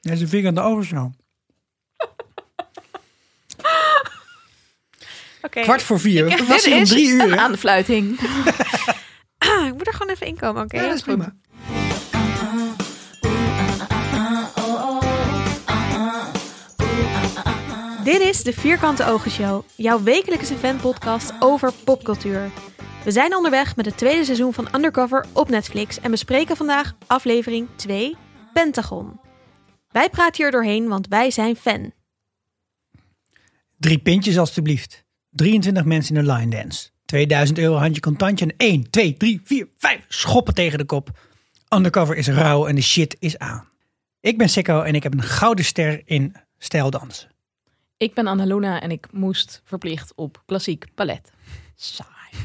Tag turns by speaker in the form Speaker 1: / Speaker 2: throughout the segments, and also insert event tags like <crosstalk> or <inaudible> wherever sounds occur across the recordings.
Speaker 1: Hij zijn vinger aan de oversnoom.
Speaker 2: Oké,
Speaker 1: Kwart voor vier.
Speaker 2: ik-
Speaker 1: Dat was
Speaker 2: dit
Speaker 1: hij om
Speaker 2: is Ah,
Speaker 1: drie uur.
Speaker 2: Een
Speaker 1: hè?
Speaker 2: aanfluiting. Ah, ik moet er gewoon even inkomen, oké?
Speaker 1: Ja, dat is prima.
Speaker 2: Dit is de Vierkante Ogen Show, jouw wekelijkse fanpodcast over popcultuur. We zijn onderweg met het tweede seizoen van Undercover op Netflix en bespreken vandaag aflevering 2, Pentagon. Wij praten hier doorheen, want wij zijn fan.
Speaker 1: Drie pintjes alstublieft. 23 mensen in een line dance. 2000 euro handje contantje en 1, 2, 3, 4, 5 schoppen tegen de kop. Undercover is rauw en de shit is aan. Ik ben Sikko en ik heb een gouden ster in stijldansen.
Speaker 3: Ik ben Annalona en ik moest verplicht op klassiek ballet. Saai.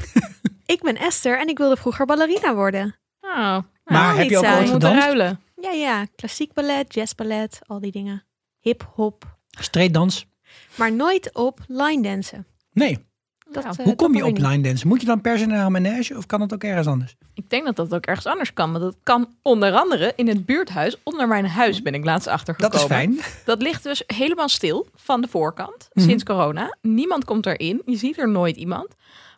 Speaker 2: Ik ben Esther en ik wilde vroeger ballerina worden.
Speaker 3: Nou, nou,
Speaker 1: Maar heb
Speaker 2: niet
Speaker 1: je ook
Speaker 2: saai.
Speaker 1: ooit
Speaker 3: we moeten
Speaker 1: gedanst?
Speaker 3: ruilen.
Speaker 2: Ja, ja, klassiek ballet, jazzballet, al die dingen. Hip-hop,
Speaker 1: Streetdans?
Speaker 2: maar nooit op line dansen.
Speaker 1: Nee.
Speaker 2: Dat,
Speaker 3: Nou,
Speaker 2: eh,
Speaker 1: Hoe kom
Speaker 2: dat
Speaker 1: je
Speaker 2: wil
Speaker 1: op
Speaker 2: ik niet.
Speaker 1: line dansen? Moet je dan per se naar een manege of kan dat ook ergens anders?
Speaker 3: Ik denk dat dat ook ergens anders kan. Want dat kan onder andere in het buurthuis. Onder mijn huis ben ik laatst achtergekomen.
Speaker 1: Dat is fijn.
Speaker 3: Dat ligt dus helemaal stil van de voorkant
Speaker 1: Mhm.
Speaker 3: sinds corona. Niemand komt erin. Je ziet er nooit iemand.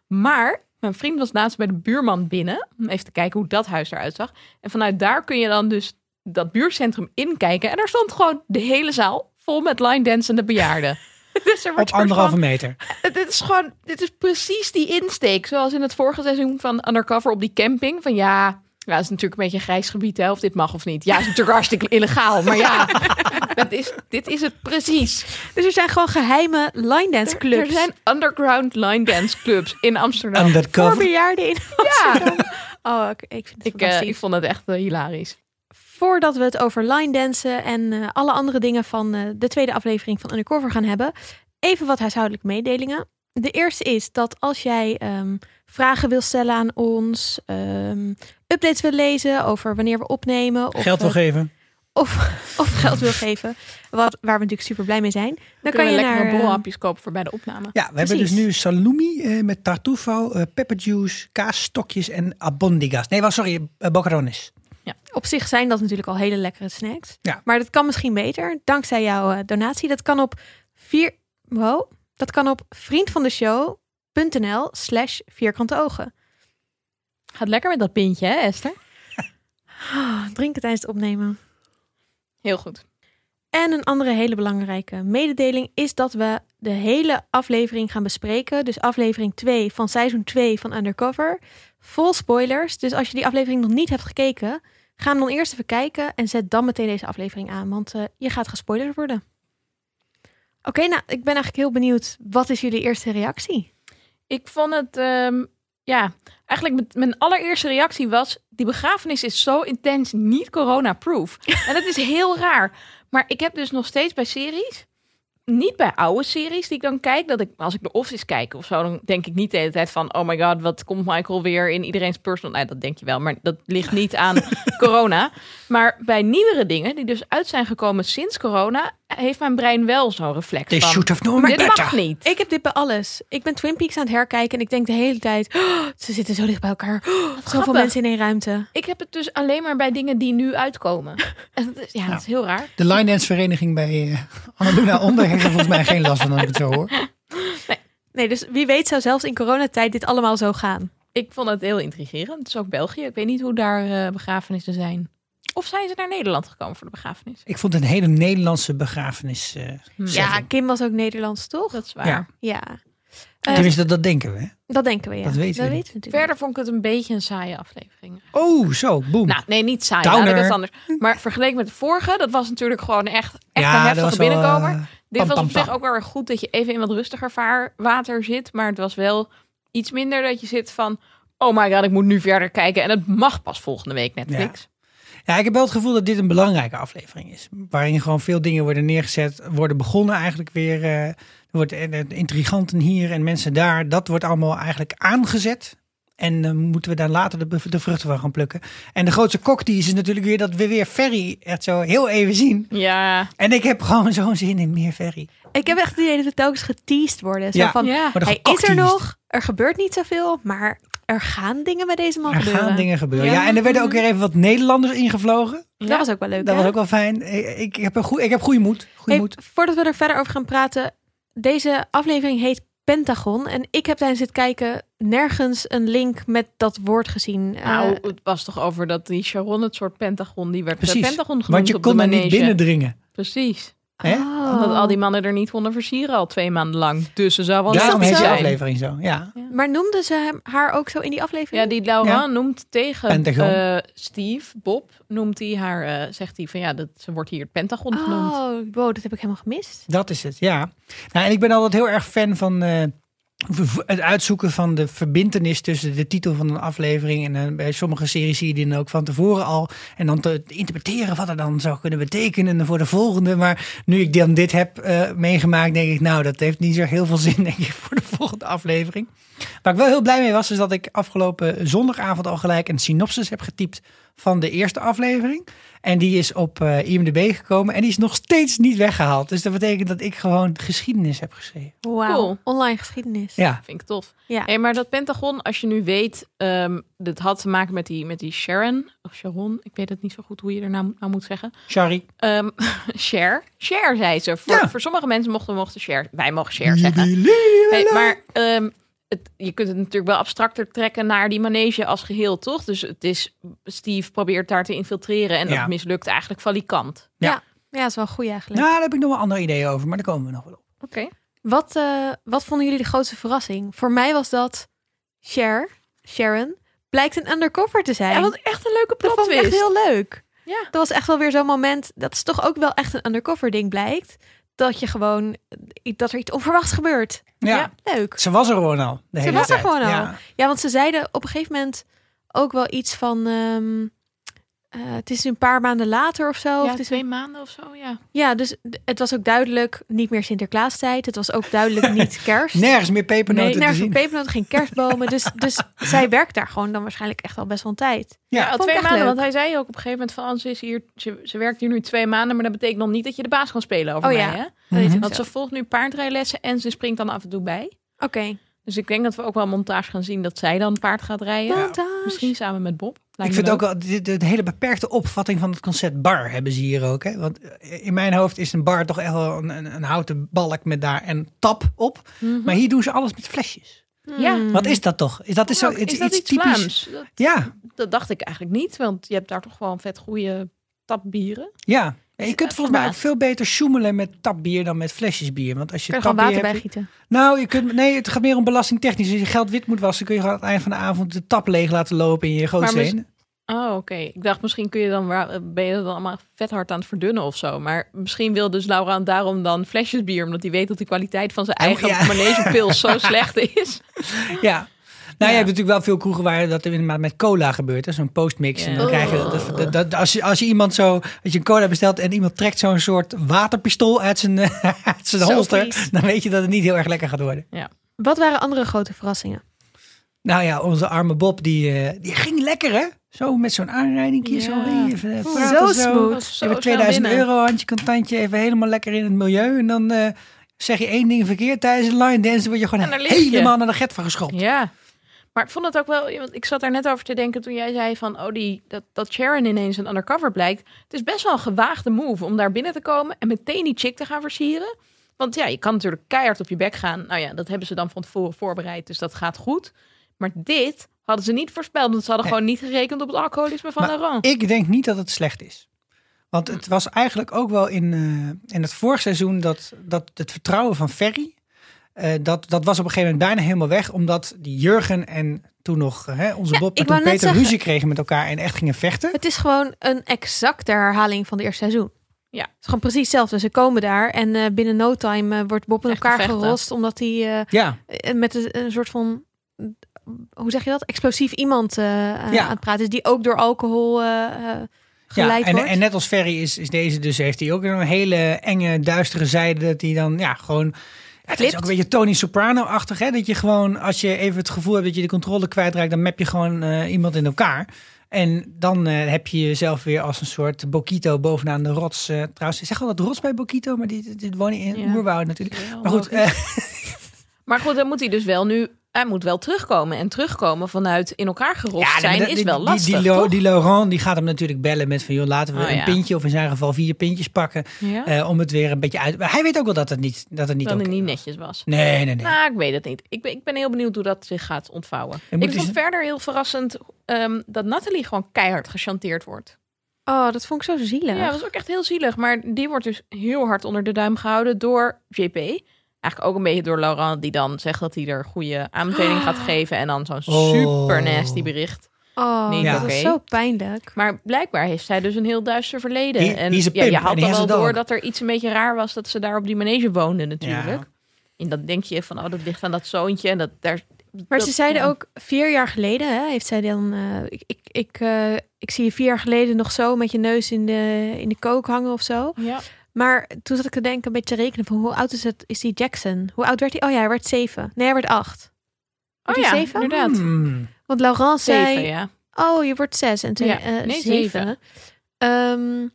Speaker 3: Maar mijn vriend was laatst bij de buurman binnen om even te kijken hoe dat huis eruit zag. En vanuit daar kun je dan dus dat buurtcentrum inkijken. En daar stond gewoon de hele zaal vol met line
Speaker 1: <laughs>
Speaker 3: dansende bejaarden. dus er wordt
Speaker 1: Op
Speaker 3: soort
Speaker 1: anderhalve
Speaker 3: van-
Speaker 1: meter.
Speaker 3: Dit is gewoon, dit is precies die insteek. Zoals in het vorige seizoen van Undercover op die camping. Van ja, ja, dat is natuurlijk een beetje een grijs gebied, hè, of dit mag of niet. Ja, is natuurlijk hartstikke illegaal, maar <laughs> ja, dat is, dit is het precies.
Speaker 2: Dus er zijn gewoon geheime line dance
Speaker 3: Er, er
Speaker 2: clubs.
Speaker 3: zijn underground line dance clubs in Amsterdam.
Speaker 2: voor
Speaker 1: Undercover.
Speaker 2: bejaarden in
Speaker 3: Ja,
Speaker 2: Oh, ik, ik vind het
Speaker 3: ik, eh,
Speaker 2: fantastisch.
Speaker 3: ik vond het echt eh, hilarisch.
Speaker 2: Voordat we het over line dansen en eh, alle andere dingen van eh, de tweede aflevering van Undercover gaan hebben, even wat huishoudelijke mededelingen. De eerste is dat als jij ehm, vragen wil stellen aan ons, ehm, updates wil lezen over wanneer we opnemen of,
Speaker 1: Geld wil
Speaker 2: eh,
Speaker 1: geven.
Speaker 2: of, of geld wil geven, wat, waar we natuurlijk super blij mee zijn, dan
Speaker 3: Dan kan je
Speaker 2: naar
Speaker 3: lekker
Speaker 2: eh,
Speaker 3: bolhapjes kopen voor bij de opname.
Speaker 1: Ja, we hebben dus
Speaker 2: Precies.
Speaker 1: nu salumi eh, met tartufo, eh pepperjuice, kaasstokjes en abondigas. Nee, wel, sorry, eh, bocarones.
Speaker 2: Op zich zijn dat natuurlijk al hele lekkere snacks.
Speaker 1: Ja.
Speaker 2: Maar dat kan misschien beter dankzij jouw eh, donatie. Dat kan op vier. Wow. Dat kan op vriendvandeshow.nl slash vierkante ogen. <gasps>
Speaker 3: Gaat lekker met dat pintje, hè Esther?
Speaker 2: Ah, drinken tijdens het opnemen.
Speaker 3: Heel goed.
Speaker 2: En een andere hele belangrijke mededeling is dat we de hele aflevering gaan bespreken. Dus aflevering 2 van seizoen 2 van Undercover. Vol spoilers. Dus als je die aflevering nog niet hebt gekeken, ga hem dan eerst even kijken en zet dan meteen deze aflevering aan. Want eh, je gaat gespoilerd worden. Oké, nou, ik ben eigenlijk heel benieuwd. Wat is jullie eerste reactie?
Speaker 3: Ik vond het, ehm, ja, eigenlijk met- mijn allereerste reactie was: die begrafenis is zo intens niet
Speaker 1: <laughs>
Speaker 3: corona-proof. En dat is heel raar. Maar ik heb dus nog steeds bij series, niet bij oude series die ik dan kijk, dat ik als ik de Office kijk of zo, dan denk ik niet de hele tijd van: oh my god, wat komt Michael weer in iedereen's personal? Nee, dat denk je wel, maar dat ligt niet
Speaker 1: <laughs>
Speaker 3: aan corona. Maar bij nieuwere dingen die dus uit zijn gekomen sinds corona, heeft mijn brein wel zo'n reflex
Speaker 1: They
Speaker 3: van:
Speaker 1: should have known
Speaker 3: dit mag
Speaker 1: better.
Speaker 3: niet.
Speaker 2: Ik heb dit bij alles. Ik ben Twin Peaks aan het herkijken en ik denk de hele tijd... <gasps> "Oh, ze zitten zo dicht bij elkaar. <gasps> Oh, zoveel
Speaker 3: grappig.
Speaker 2: mensen in één ruimte.
Speaker 3: Ik heb het dus alleen maar bij dingen die nu <laughs> uitkomen. En dat is, ja, dat is heel raar.
Speaker 1: De line dance vereniging bij eh Annalena Onder heeft er volgens mij geen last van als ik het zo hoor.
Speaker 2: Nee, dus wie weet zou zelfs in coronatijd dit allemaal zo
Speaker 1: Mm.
Speaker 2: gaan.
Speaker 3: Ik vond het heel intrigerend. Het is ook België. Ik weet niet hoe daar eh, begrafenissen zijn. Of zijn ze naar Nederland gekomen voor de begrafenis?
Speaker 1: Ik vond het een hele Nederlandse begrafenis. eh,
Speaker 2: Ja,
Speaker 1: setting.
Speaker 2: Kim was ook Nederlands, toch?
Speaker 3: Dat is waar.
Speaker 1: Ja.
Speaker 2: Ja, Eh,
Speaker 1: Tenminste, dat denken we. hè?
Speaker 2: dat denken we, ja.
Speaker 1: Dat weten we niet.
Speaker 2: natuurlijk.
Speaker 3: Verder vond ik het een beetje een saaie aflevering.
Speaker 1: Oh, zo, boem.
Speaker 3: Nou, nee, niet saai.
Speaker 1: Downer.
Speaker 3: Laat ik het anders. Maar vergeleken met de vorige, dat was natuurlijk gewoon echt, echt een
Speaker 1: dat
Speaker 3: heftige
Speaker 1: was wel, eh,
Speaker 3: binnenkomer. Dit
Speaker 1: pam,
Speaker 3: was
Speaker 1: pam,
Speaker 3: op zich
Speaker 1: pam.
Speaker 3: ook wel weer goed dat je even in wat rustiger vaar- water zit. Maar het was wel iets minder dat je zit van... Oh my god, ik moet nu verder kijken. En het mag pas volgende week Netflix.
Speaker 1: Ja, ik heb wel het gevoel dat dit een belangrijke aflevering is. Waarin gewoon veel dingen worden neergezet, worden begonnen eigenlijk weer. eh, er wordt eh, eh, intriganten hier en mensen daar. Dat wordt allemaal eigenlijk aangezet. En eh, moeten we daar later de, bev- de vruchten van gaan plukken. En de grootste kok die is natuurlijk weer dat we weer Ferry echt zo heel even zien.
Speaker 3: Ja.
Speaker 1: En ik heb gewoon zo'n zin in meer Ferry.
Speaker 2: Ik heb echt het idee dat we telkens geteased worden. Zo
Speaker 1: Ja.
Speaker 2: van,
Speaker 3: ja.
Speaker 1: Worden
Speaker 2: hij is er
Speaker 1: gekokteased.
Speaker 2: nog, er gebeurt niet zoveel, maar er gaan dingen met deze man
Speaker 1: er
Speaker 2: gebeuren.
Speaker 1: gaan dingen gebeuren. Ja.
Speaker 3: Ja.
Speaker 1: en er werden ook weer even wat Nederlanders ingevlogen.
Speaker 2: Dat
Speaker 3: Ja.
Speaker 2: was ook wel leuk.
Speaker 1: Dat
Speaker 2: hè?
Speaker 1: was ook wel fijn. Ik, ik heb, een goe- ik heb goede moed. Goede
Speaker 2: Hey,
Speaker 1: moed.
Speaker 2: Voordat we er verder over gaan praten. Deze aflevering heet Pentagon. En ik heb tijdens het kijken nergens een link met dat woord gezien.
Speaker 3: Nou,
Speaker 2: Eh,
Speaker 3: het was toch over dat die Sharon het soort pentagon, die werd
Speaker 1: Precies,
Speaker 3: de pentagon genoemd
Speaker 1: Want je
Speaker 3: op de
Speaker 1: kon er niet
Speaker 3: manege.
Speaker 1: binnendringen.
Speaker 3: Precies.
Speaker 1: Hè?
Speaker 2: oh.
Speaker 3: Omdat al die mannen er niet konden versieren al twee maanden lang. Dus ze zou wel
Speaker 1: Daarom
Speaker 3: een
Speaker 1: heet die
Speaker 3: zijn.
Speaker 1: aflevering zo. Ja.
Speaker 2: Maar noemden ze hem, haar ook zo in die aflevering?
Speaker 3: Ja, die Laurent
Speaker 1: Ja.
Speaker 3: noemt tegen
Speaker 1: Pentagon.
Speaker 3: eh, Steve, Bob, noemt hij haar, eh, zegt hij van ja, dat, ze wordt hier het pentagon genoemd.
Speaker 2: Oh, wow, dat heb ik helemaal gemist.
Speaker 1: Dat is het, ja. Nou, en ik ben altijd heel erg fan van eh, v- v- het uitzoeken van de verbindenis tussen de titel van een aflevering. En eh, bij sommige series zie je die dan ook van tevoren al. En dan te interpreteren wat er dan zou kunnen betekenen voor de volgende. Maar nu ik dan dit heb eh, meegemaakt, denk ik, nou, dat heeft niet zo heel veel <laughs> zin, denk ik, voor de volgende aflevering. Waar ik wel heel blij mee was, is dat ik afgelopen zondagavond al gelijk een synopsis heb getypt van de eerste aflevering. En die is op eh, IMDb gekomen en die is nog steeds niet weggehaald. Dus dat betekent dat ik gewoon geschiedenis heb geschreven.
Speaker 2: Wauw.
Speaker 3: Cool.
Speaker 2: Online geschiedenis.
Speaker 1: Ja,
Speaker 3: Vind ik tof.
Speaker 2: Ja.
Speaker 3: Hey, maar dat Pentagon, als je nu weet, ehm, dat had te maken met die, met die Sharon. Of Sharon, ik weet het niet zo goed hoe je er nou, nou moet zeggen.
Speaker 1: sorry.
Speaker 3: Ehm, <laughs> share. Share, zei ze. Voor,
Speaker 1: Ja.
Speaker 3: voor sommige mensen mochten we mochten share. Wij mogen share zeggen. Hey, maar ehm, het, je kunt het natuurlijk wel abstracter trekken naar die manege als geheel, toch? Dus het is, Steve probeert daar te infiltreren en
Speaker 1: Ja.
Speaker 3: dat mislukt eigenlijk valikant.
Speaker 2: Ja, dat is wel goed eigenlijk.
Speaker 1: Nou, daar heb ik nog wel andere ideeën over, maar daar komen we nog wel op.
Speaker 3: Oké.
Speaker 2: Wat, eh, wat vonden jullie de grootste verrassing? Voor mij was dat Cher, Sharon, blijkt een undercover te zijn.
Speaker 3: Ja, wat echt een leuke
Speaker 2: dat
Speaker 3: plot
Speaker 2: vond ik echt heel leuk.
Speaker 3: Ja.
Speaker 2: Dat was echt wel weer zo'n moment. Dat is toch ook wel echt een undercover ding blijkt. Dat je gewoon dat er iets onverwachts gebeurt.
Speaker 1: Ja,
Speaker 3: Ja.
Speaker 2: Leuk.
Speaker 1: ze was er gewoon al. De
Speaker 2: Ze
Speaker 1: hele
Speaker 2: was er
Speaker 1: tijd.
Speaker 2: gewoon al.
Speaker 1: Ja.
Speaker 2: Ja, want ze zeiden op een gegeven moment ook wel iets van. ehm, eh, het is een paar maanden later of zo. of
Speaker 3: Ja,
Speaker 2: het is
Speaker 3: twee maanden of zo, ja.
Speaker 2: Ja, dus d- het was ook duidelijk niet meer Sinterklaastijd. Het was
Speaker 1: <laughs>
Speaker 2: ook duidelijk niet kerst.
Speaker 1: Nergens meer pepernoten
Speaker 2: Nee,
Speaker 1: te
Speaker 2: nergens
Speaker 1: zien.
Speaker 2: een pepernoten, geen kerstbomen. Dus,
Speaker 1: <laughs>
Speaker 2: dus zij werkt daar gewoon dan waarschijnlijk echt al best wel een tijd.
Speaker 1: Ja,
Speaker 3: Ja, al
Speaker 2: vond ik
Speaker 3: twee
Speaker 2: echt
Speaker 3: maanden.
Speaker 2: leuk.
Speaker 3: Want hij zei ook op een gegeven moment van, oh, ze, is hier, ze, ze werkt hier nu twee maanden, maar dat betekent nog niet dat je de baas kan spelen over
Speaker 2: Oh
Speaker 3: mij,
Speaker 2: ja.
Speaker 3: hè?
Speaker 2: Dat is
Speaker 1: Mhm.
Speaker 2: ook
Speaker 3: Want
Speaker 2: zo.
Speaker 3: ze volgt nu paardrijlessen en ze springt dan af en toe bij.
Speaker 2: Oké.
Speaker 3: Dus ik denk dat we ook wel een montage gaan zien dat zij dan paard gaat rijden.
Speaker 2: Montage.
Speaker 3: Misschien samen met Bob.
Speaker 1: Ik
Speaker 3: Lijkt me
Speaker 1: vind ook
Speaker 3: leuk.
Speaker 1: wel, de, de, de hele beperkte opvatting van het concept bar hebben ze hier ook. Hè? Want eh, in mijn hoofd is een bar toch echt wel een, een, een houten balk met daar een tap op.
Speaker 3: Mhm.
Speaker 1: Maar hier doen ze alles met flesjes.
Speaker 3: Ja.
Speaker 2: Hmm.
Speaker 1: Wat is dat toch? Is dat, is zo,
Speaker 3: Ook,
Speaker 1: het,
Speaker 3: is dat
Speaker 1: iets
Speaker 3: iets
Speaker 1: typisch?
Speaker 3: Vlaams? Dat,
Speaker 1: Ja,
Speaker 3: dat dacht ik eigenlijk niet, want je hebt daar toch wel een vet goede tapbieren.
Speaker 1: ja.
Speaker 3: Is
Speaker 1: Je
Speaker 3: het
Speaker 1: kunt
Speaker 3: echt
Speaker 1: volgens mij ook
Speaker 3: verbaasd?
Speaker 1: veel beter sjoemelen met tapbier dan met flesjesbier. Want als je
Speaker 2: Kun je gewoon
Speaker 1: tapbier
Speaker 2: water
Speaker 1: hebt,
Speaker 2: bij gieten?
Speaker 1: Nou, je kunt, nee, het gaat meer om belastingtechnisch. Als je geld wit moet wassen, kun je gewoon aan het eind van de avond de tap leeg laten lopen in je gootsteen.
Speaker 3: Oh, oké. Ik dacht, misschien kun je dan, wa- ben je dan allemaal vet hard aan het verdunnen of zo. Maar misschien wil dus Laura daarom dan flesjes bier, omdat hij weet dat de kwaliteit van zijn
Speaker 1: Hij-
Speaker 3: eigen
Speaker 1: ja.
Speaker 3: manegepils <laughs> zo slecht is.
Speaker 1: Ja. Nou, je
Speaker 3: Ja.
Speaker 1: hebt natuurlijk wel veel kroegen waar dat inderdaad met cola gebeurt. hè, Zo'n postmix.
Speaker 3: Ja.
Speaker 1: En dan krijg je dat, dat, dat- als, je, als je iemand zo, als je een cola bestelt en iemand trekt zo'n soort waterpistool uit zijn, <laughs> eh, uit zijn
Speaker 2: Zo
Speaker 1: holster,
Speaker 2: vies.
Speaker 1: dan weet je dat het niet heel erg lekker gaat worden.
Speaker 2: Wat waren andere grote verrassingen?
Speaker 1: Nou ja, onze arme Bob, die, eh, die ging lekker hè? Zo met zo'n aanrijding.
Speaker 3: Ja.
Speaker 1: Zo, hey, even, eh,
Speaker 2: Zo
Speaker 1: praten,
Speaker 2: smooth.
Speaker 3: Dat is
Speaker 1: Je hebt
Speaker 3: zo snel
Speaker 1: 2000
Speaker 3: binnen.
Speaker 1: euro, handje contantje, even helemaal lekker in het milieu. En dan eh, zeg je één ding verkeerd tijdens de line dance, dan word je gewoon
Speaker 3: En daar lig je.
Speaker 1: helemaal naar de get van geschopt.
Speaker 3: Ja. Maar ik vond het ook wel, want ik zat daar net over te denken toen jij zei van, oh, die, dat, dat Sharon ineens een undercover blijkt. Het is best wel een gewaagde move om daar binnen te komen en meteen die chick te gaan versieren. Want ja, je kan natuurlijk keihard op je bek gaan. Nou ja, dat hebben ze dan van tevoren voorbereid, dus dat gaat goed. Maar dit hadden ze niet voorspeld, want ze hadden
Speaker 1: Nee.
Speaker 3: gewoon niet gerekend op het alcoholisme van
Speaker 1: Maar
Speaker 3: Laurent.
Speaker 1: Ik denk niet dat het slecht is. Want het was eigenlijk ook wel in, eh, in het vorig seizoen dat, dat het vertrouwen van Ferry. eh, dat, dat was op een gegeven moment bijna helemaal weg. Omdat die Jurgen en toen nog eh, hè, onze
Speaker 2: Ja,
Speaker 1: Bob
Speaker 2: ik
Speaker 1: en toen
Speaker 2: wou net
Speaker 1: Peter
Speaker 2: zeggen-
Speaker 1: ruzie kregen met elkaar en echt gingen vechten.
Speaker 2: Het is gewoon een exacte herhaling van het eerste seizoen.
Speaker 3: Ja.
Speaker 2: Het is gewoon precies hetzelfde. Ze komen daar en eh, binnen no time eh, wordt Bob in
Speaker 3: Echt
Speaker 2: elkaar
Speaker 3: gevechten.
Speaker 2: gerost. Omdat hij eh,
Speaker 1: Ja,
Speaker 2: eh, met een, een soort van, eh, hoe zeg je dat? Explosief iemand eh, aan-
Speaker 1: Ja.
Speaker 2: aan het praten is. Die ook door alcohol eh, eh, geleid
Speaker 1: ja en,
Speaker 2: wordt.
Speaker 1: en net als Ferry is, is deze dus, heeft hij ook een hele enge, duistere zijde. Dat hij dan, ja, gewoon... Het is
Speaker 2: Flipt.
Speaker 1: ook een beetje Tony Soprano-achtig, hè? Dat je gewoon, als je even het gevoel hebt dat je de controle kwijtraakt... dan map je gewoon eh, iemand in elkaar. En dan eh, heb je jezelf weer als een soort Bokito bovenaan de rots. eh, trouwens, ik zeg al dat rots bij Bokito, maar die, die, die wonen in
Speaker 3: Ja.
Speaker 1: oerwoud natuurlijk.
Speaker 3: Heel
Speaker 1: Maar goed,
Speaker 3: logisch.
Speaker 1: eh,
Speaker 3: Maar goed, dan moet hij dus wel nu hij moet wel terugkomen. En terugkomen vanuit in elkaar gerost
Speaker 1: nee,
Speaker 3: zijn
Speaker 1: maar dat-
Speaker 3: is
Speaker 1: die-
Speaker 3: wel
Speaker 1: die-
Speaker 3: lastig,
Speaker 1: Die, Lo-
Speaker 3: toch?
Speaker 1: die Laurent die gaat hem natuurlijk bellen met van joh, laten we
Speaker 3: Oh,
Speaker 1: een
Speaker 3: ja.
Speaker 1: pintje of in zijn geval vier pintjes pakken.
Speaker 3: ja?
Speaker 1: eh, om het weer een beetje uit. Maar hij weet ook wel dat het niet, dat het niet,
Speaker 3: dat het
Speaker 1: oké
Speaker 3: niet
Speaker 1: was.
Speaker 3: netjes was.
Speaker 1: Nee, nee, nee.
Speaker 3: Nou, ik weet het niet. Ik ben, ik ben heel benieuwd hoe dat zich gaat ontvouwen.
Speaker 1: moet
Speaker 3: Ik
Speaker 1: eens-
Speaker 3: vond verder heel verrassend ehm, dat Nathalie gewoon keihard gechanteerd wordt.
Speaker 2: Oh, dat vond ik zo zielig.
Speaker 3: Ja, dat is ook echt heel zielig. Maar die wordt dus heel hard onder de duim gehouden door JP. Eigenlijk ook een beetje door Laurent, die dan zegt dat hij er goede
Speaker 1: <gasps>
Speaker 3: aanbeveling gaat geven. En dan zo'n
Speaker 1: Oh.
Speaker 3: super nasty bericht.
Speaker 2: Oh,
Speaker 3: Niet
Speaker 2: dat
Speaker 1: oké.
Speaker 2: is zo pijnlijk.
Speaker 3: Maar blijkbaar heeft zij dus een heel duister verleden.
Speaker 1: Die-
Speaker 3: en
Speaker 1: die is een
Speaker 3: ja, je
Speaker 1: pimp en
Speaker 3: had
Speaker 1: die
Speaker 3: dan
Speaker 1: has
Speaker 3: wel
Speaker 1: a
Speaker 3: door
Speaker 1: dog.
Speaker 3: dat er iets een beetje raar was dat ze daar op die manege woonde natuurlijk.
Speaker 1: Ja.
Speaker 3: En dan denk je van, oh, dat ligt aan dat zoontje. En dat, daar,
Speaker 2: Maar
Speaker 3: dat-
Speaker 2: ze zeiden
Speaker 3: ja.
Speaker 2: ook vier jaar geleden, hè, heeft zij dan. eh, ik, ik, ik, eh, ik zie je vier jaar geleden nog zo met je neus in de, in de kook hangen of zo.
Speaker 3: Ja.
Speaker 2: Maar toen zat ik te denken, een beetje te rekenen van hoe oud is, het, is die Jackson? Hoe oud werd hij? Oh ja, hij werd zeven. Nee, hij werd acht.
Speaker 3: Oh
Speaker 2: Werd hij
Speaker 3: ja,
Speaker 2: zeven?
Speaker 3: inderdaad.
Speaker 1: Hmm.
Speaker 2: Want Laurent zei,
Speaker 3: Zeven, ja.
Speaker 2: oh je wordt zes. En toen
Speaker 3: Ja,
Speaker 2: eh zeven.
Speaker 3: nee, zeven.
Speaker 2: Ehm,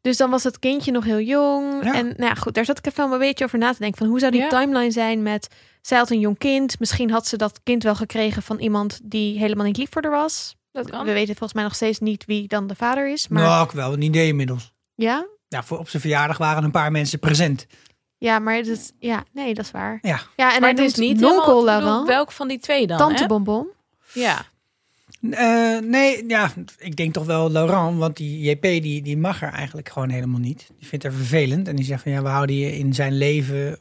Speaker 2: dus dan was dat kindje nog heel jong.
Speaker 1: Ja.
Speaker 2: En nou ja, goed, daar zat ik even wel een beetje over na te denken. Van hoe zou die
Speaker 3: Ja.
Speaker 2: timeline zijn met... Zij had een jong kind. Misschien had ze dat kind wel gekregen van iemand die helemaal niet lief voor haar was.
Speaker 3: Dat kan.
Speaker 2: We weten volgens mij nog steeds niet wie dan de vader is. Maar
Speaker 1: Nou, ik wel een idee inmiddels.
Speaker 2: ja,
Speaker 1: Ja, voor, op zijn verjaardag waren een paar mensen present.
Speaker 2: ja, maar dat is, ja, nee, dat is waar.
Speaker 1: Ja.
Speaker 2: ja en
Speaker 3: maar
Speaker 2: hij
Speaker 3: het is
Speaker 2: noemt
Speaker 3: niet
Speaker 2: nonkel
Speaker 3: helemaal- ik bedoel,
Speaker 2: Laurent,
Speaker 3: welk van die twee dan?
Speaker 2: tante
Speaker 3: hè?
Speaker 2: Bonbon.
Speaker 3: Ja.
Speaker 1: Eh, nee, ja, ik denk toch wel Laurent, want die JP die, die mag er eigenlijk gewoon helemaal niet. Die vindt haar vervelend en die zegt van ja, we houden je in zijn leven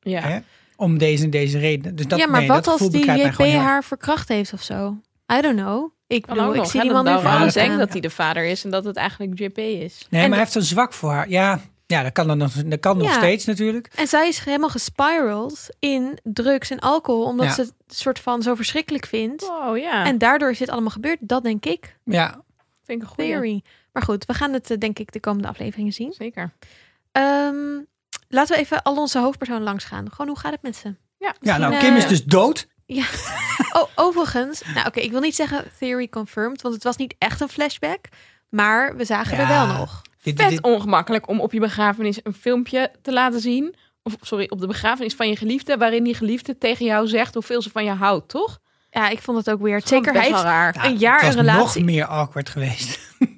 Speaker 3: Ja.
Speaker 1: hè, om deze en deze reden. Dus dat,
Speaker 2: ja, maar
Speaker 1: nee,
Speaker 2: wat
Speaker 1: dat
Speaker 2: als
Speaker 1: gevoel
Speaker 2: die
Speaker 1: beklijft mij
Speaker 2: JP
Speaker 1: gewoon heel erg.
Speaker 2: haar verkracht heeft of zo? I don't know. Ik
Speaker 3: Kan
Speaker 2: bedoel,
Speaker 3: ook
Speaker 2: ik
Speaker 3: nog,
Speaker 2: zie
Speaker 3: hè,
Speaker 2: die
Speaker 3: dat
Speaker 2: man in
Speaker 3: Laurent
Speaker 1: verhalen
Speaker 2: verhaal
Speaker 3: denkt
Speaker 2: staan.
Speaker 3: dat hij de vader is en dat het eigenlijk JP is.
Speaker 1: Nee,
Speaker 2: En
Speaker 1: maar hij
Speaker 2: dat-
Speaker 1: heeft een zwak voor haar. Ja, ja dat kan, dan nog, dat kan nog
Speaker 2: Ja.
Speaker 1: steeds natuurlijk.
Speaker 2: En zij is helemaal gespiraled in drugs en alcohol, omdat
Speaker 1: Ja.
Speaker 2: ze het soort van zo verschrikkelijk vindt.
Speaker 3: Oh ja,
Speaker 2: En daardoor is dit allemaal gebeurd. Dat denk ik.
Speaker 1: Ja,
Speaker 3: vind ik een goeie.
Speaker 2: Theory. Maar goed, we gaan het eh, denk ik de komende afleveringen zien.
Speaker 3: Zeker.
Speaker 2: Ehm, laten we even al onze hoofdpersoon langs gaan. Gewoon, hoe gaat het met
Speaker 3: <laughs>
Speaker 2: ze?
Speaker 1: ja nou,
Speaker 2: Misschien,
Speaker 1: Kim
Speaker 2: eh,
Speaker 1: is dus dood.
Speaker 2: Oh, overigens. Nou, oké, ik wil niet zeggen theory confirmed, want het was niet echt een flashback. Maar we zagen er
Speaker 1: Ja.
Speaker 2: wel nog.
Speaker 1: Dit- dit-
Speaker 3: Vet ongemakkelijk om op je begrafenis een filmpje te laten zien. Of sorry, op de begrafenis van je geliefde, waarin die geliefde tegen jou zegt hoeveel ze van je houdt, toch?
Speaker 2: Ja, ik vond het ook weird.
Speaker 3: Dat vond ik
Speaker 2: Zeker, hij
Speaker 3: best wel
Speaker 1: <laughs>
Speaker 2: heeft
Speaker 3: raar.
Speaker 1: ja,
Speaker 2: een jaar
Speaker 1: het was
Speaker 2: een relatie.
Speaker 1: nog meer awkward geweest. <laughs>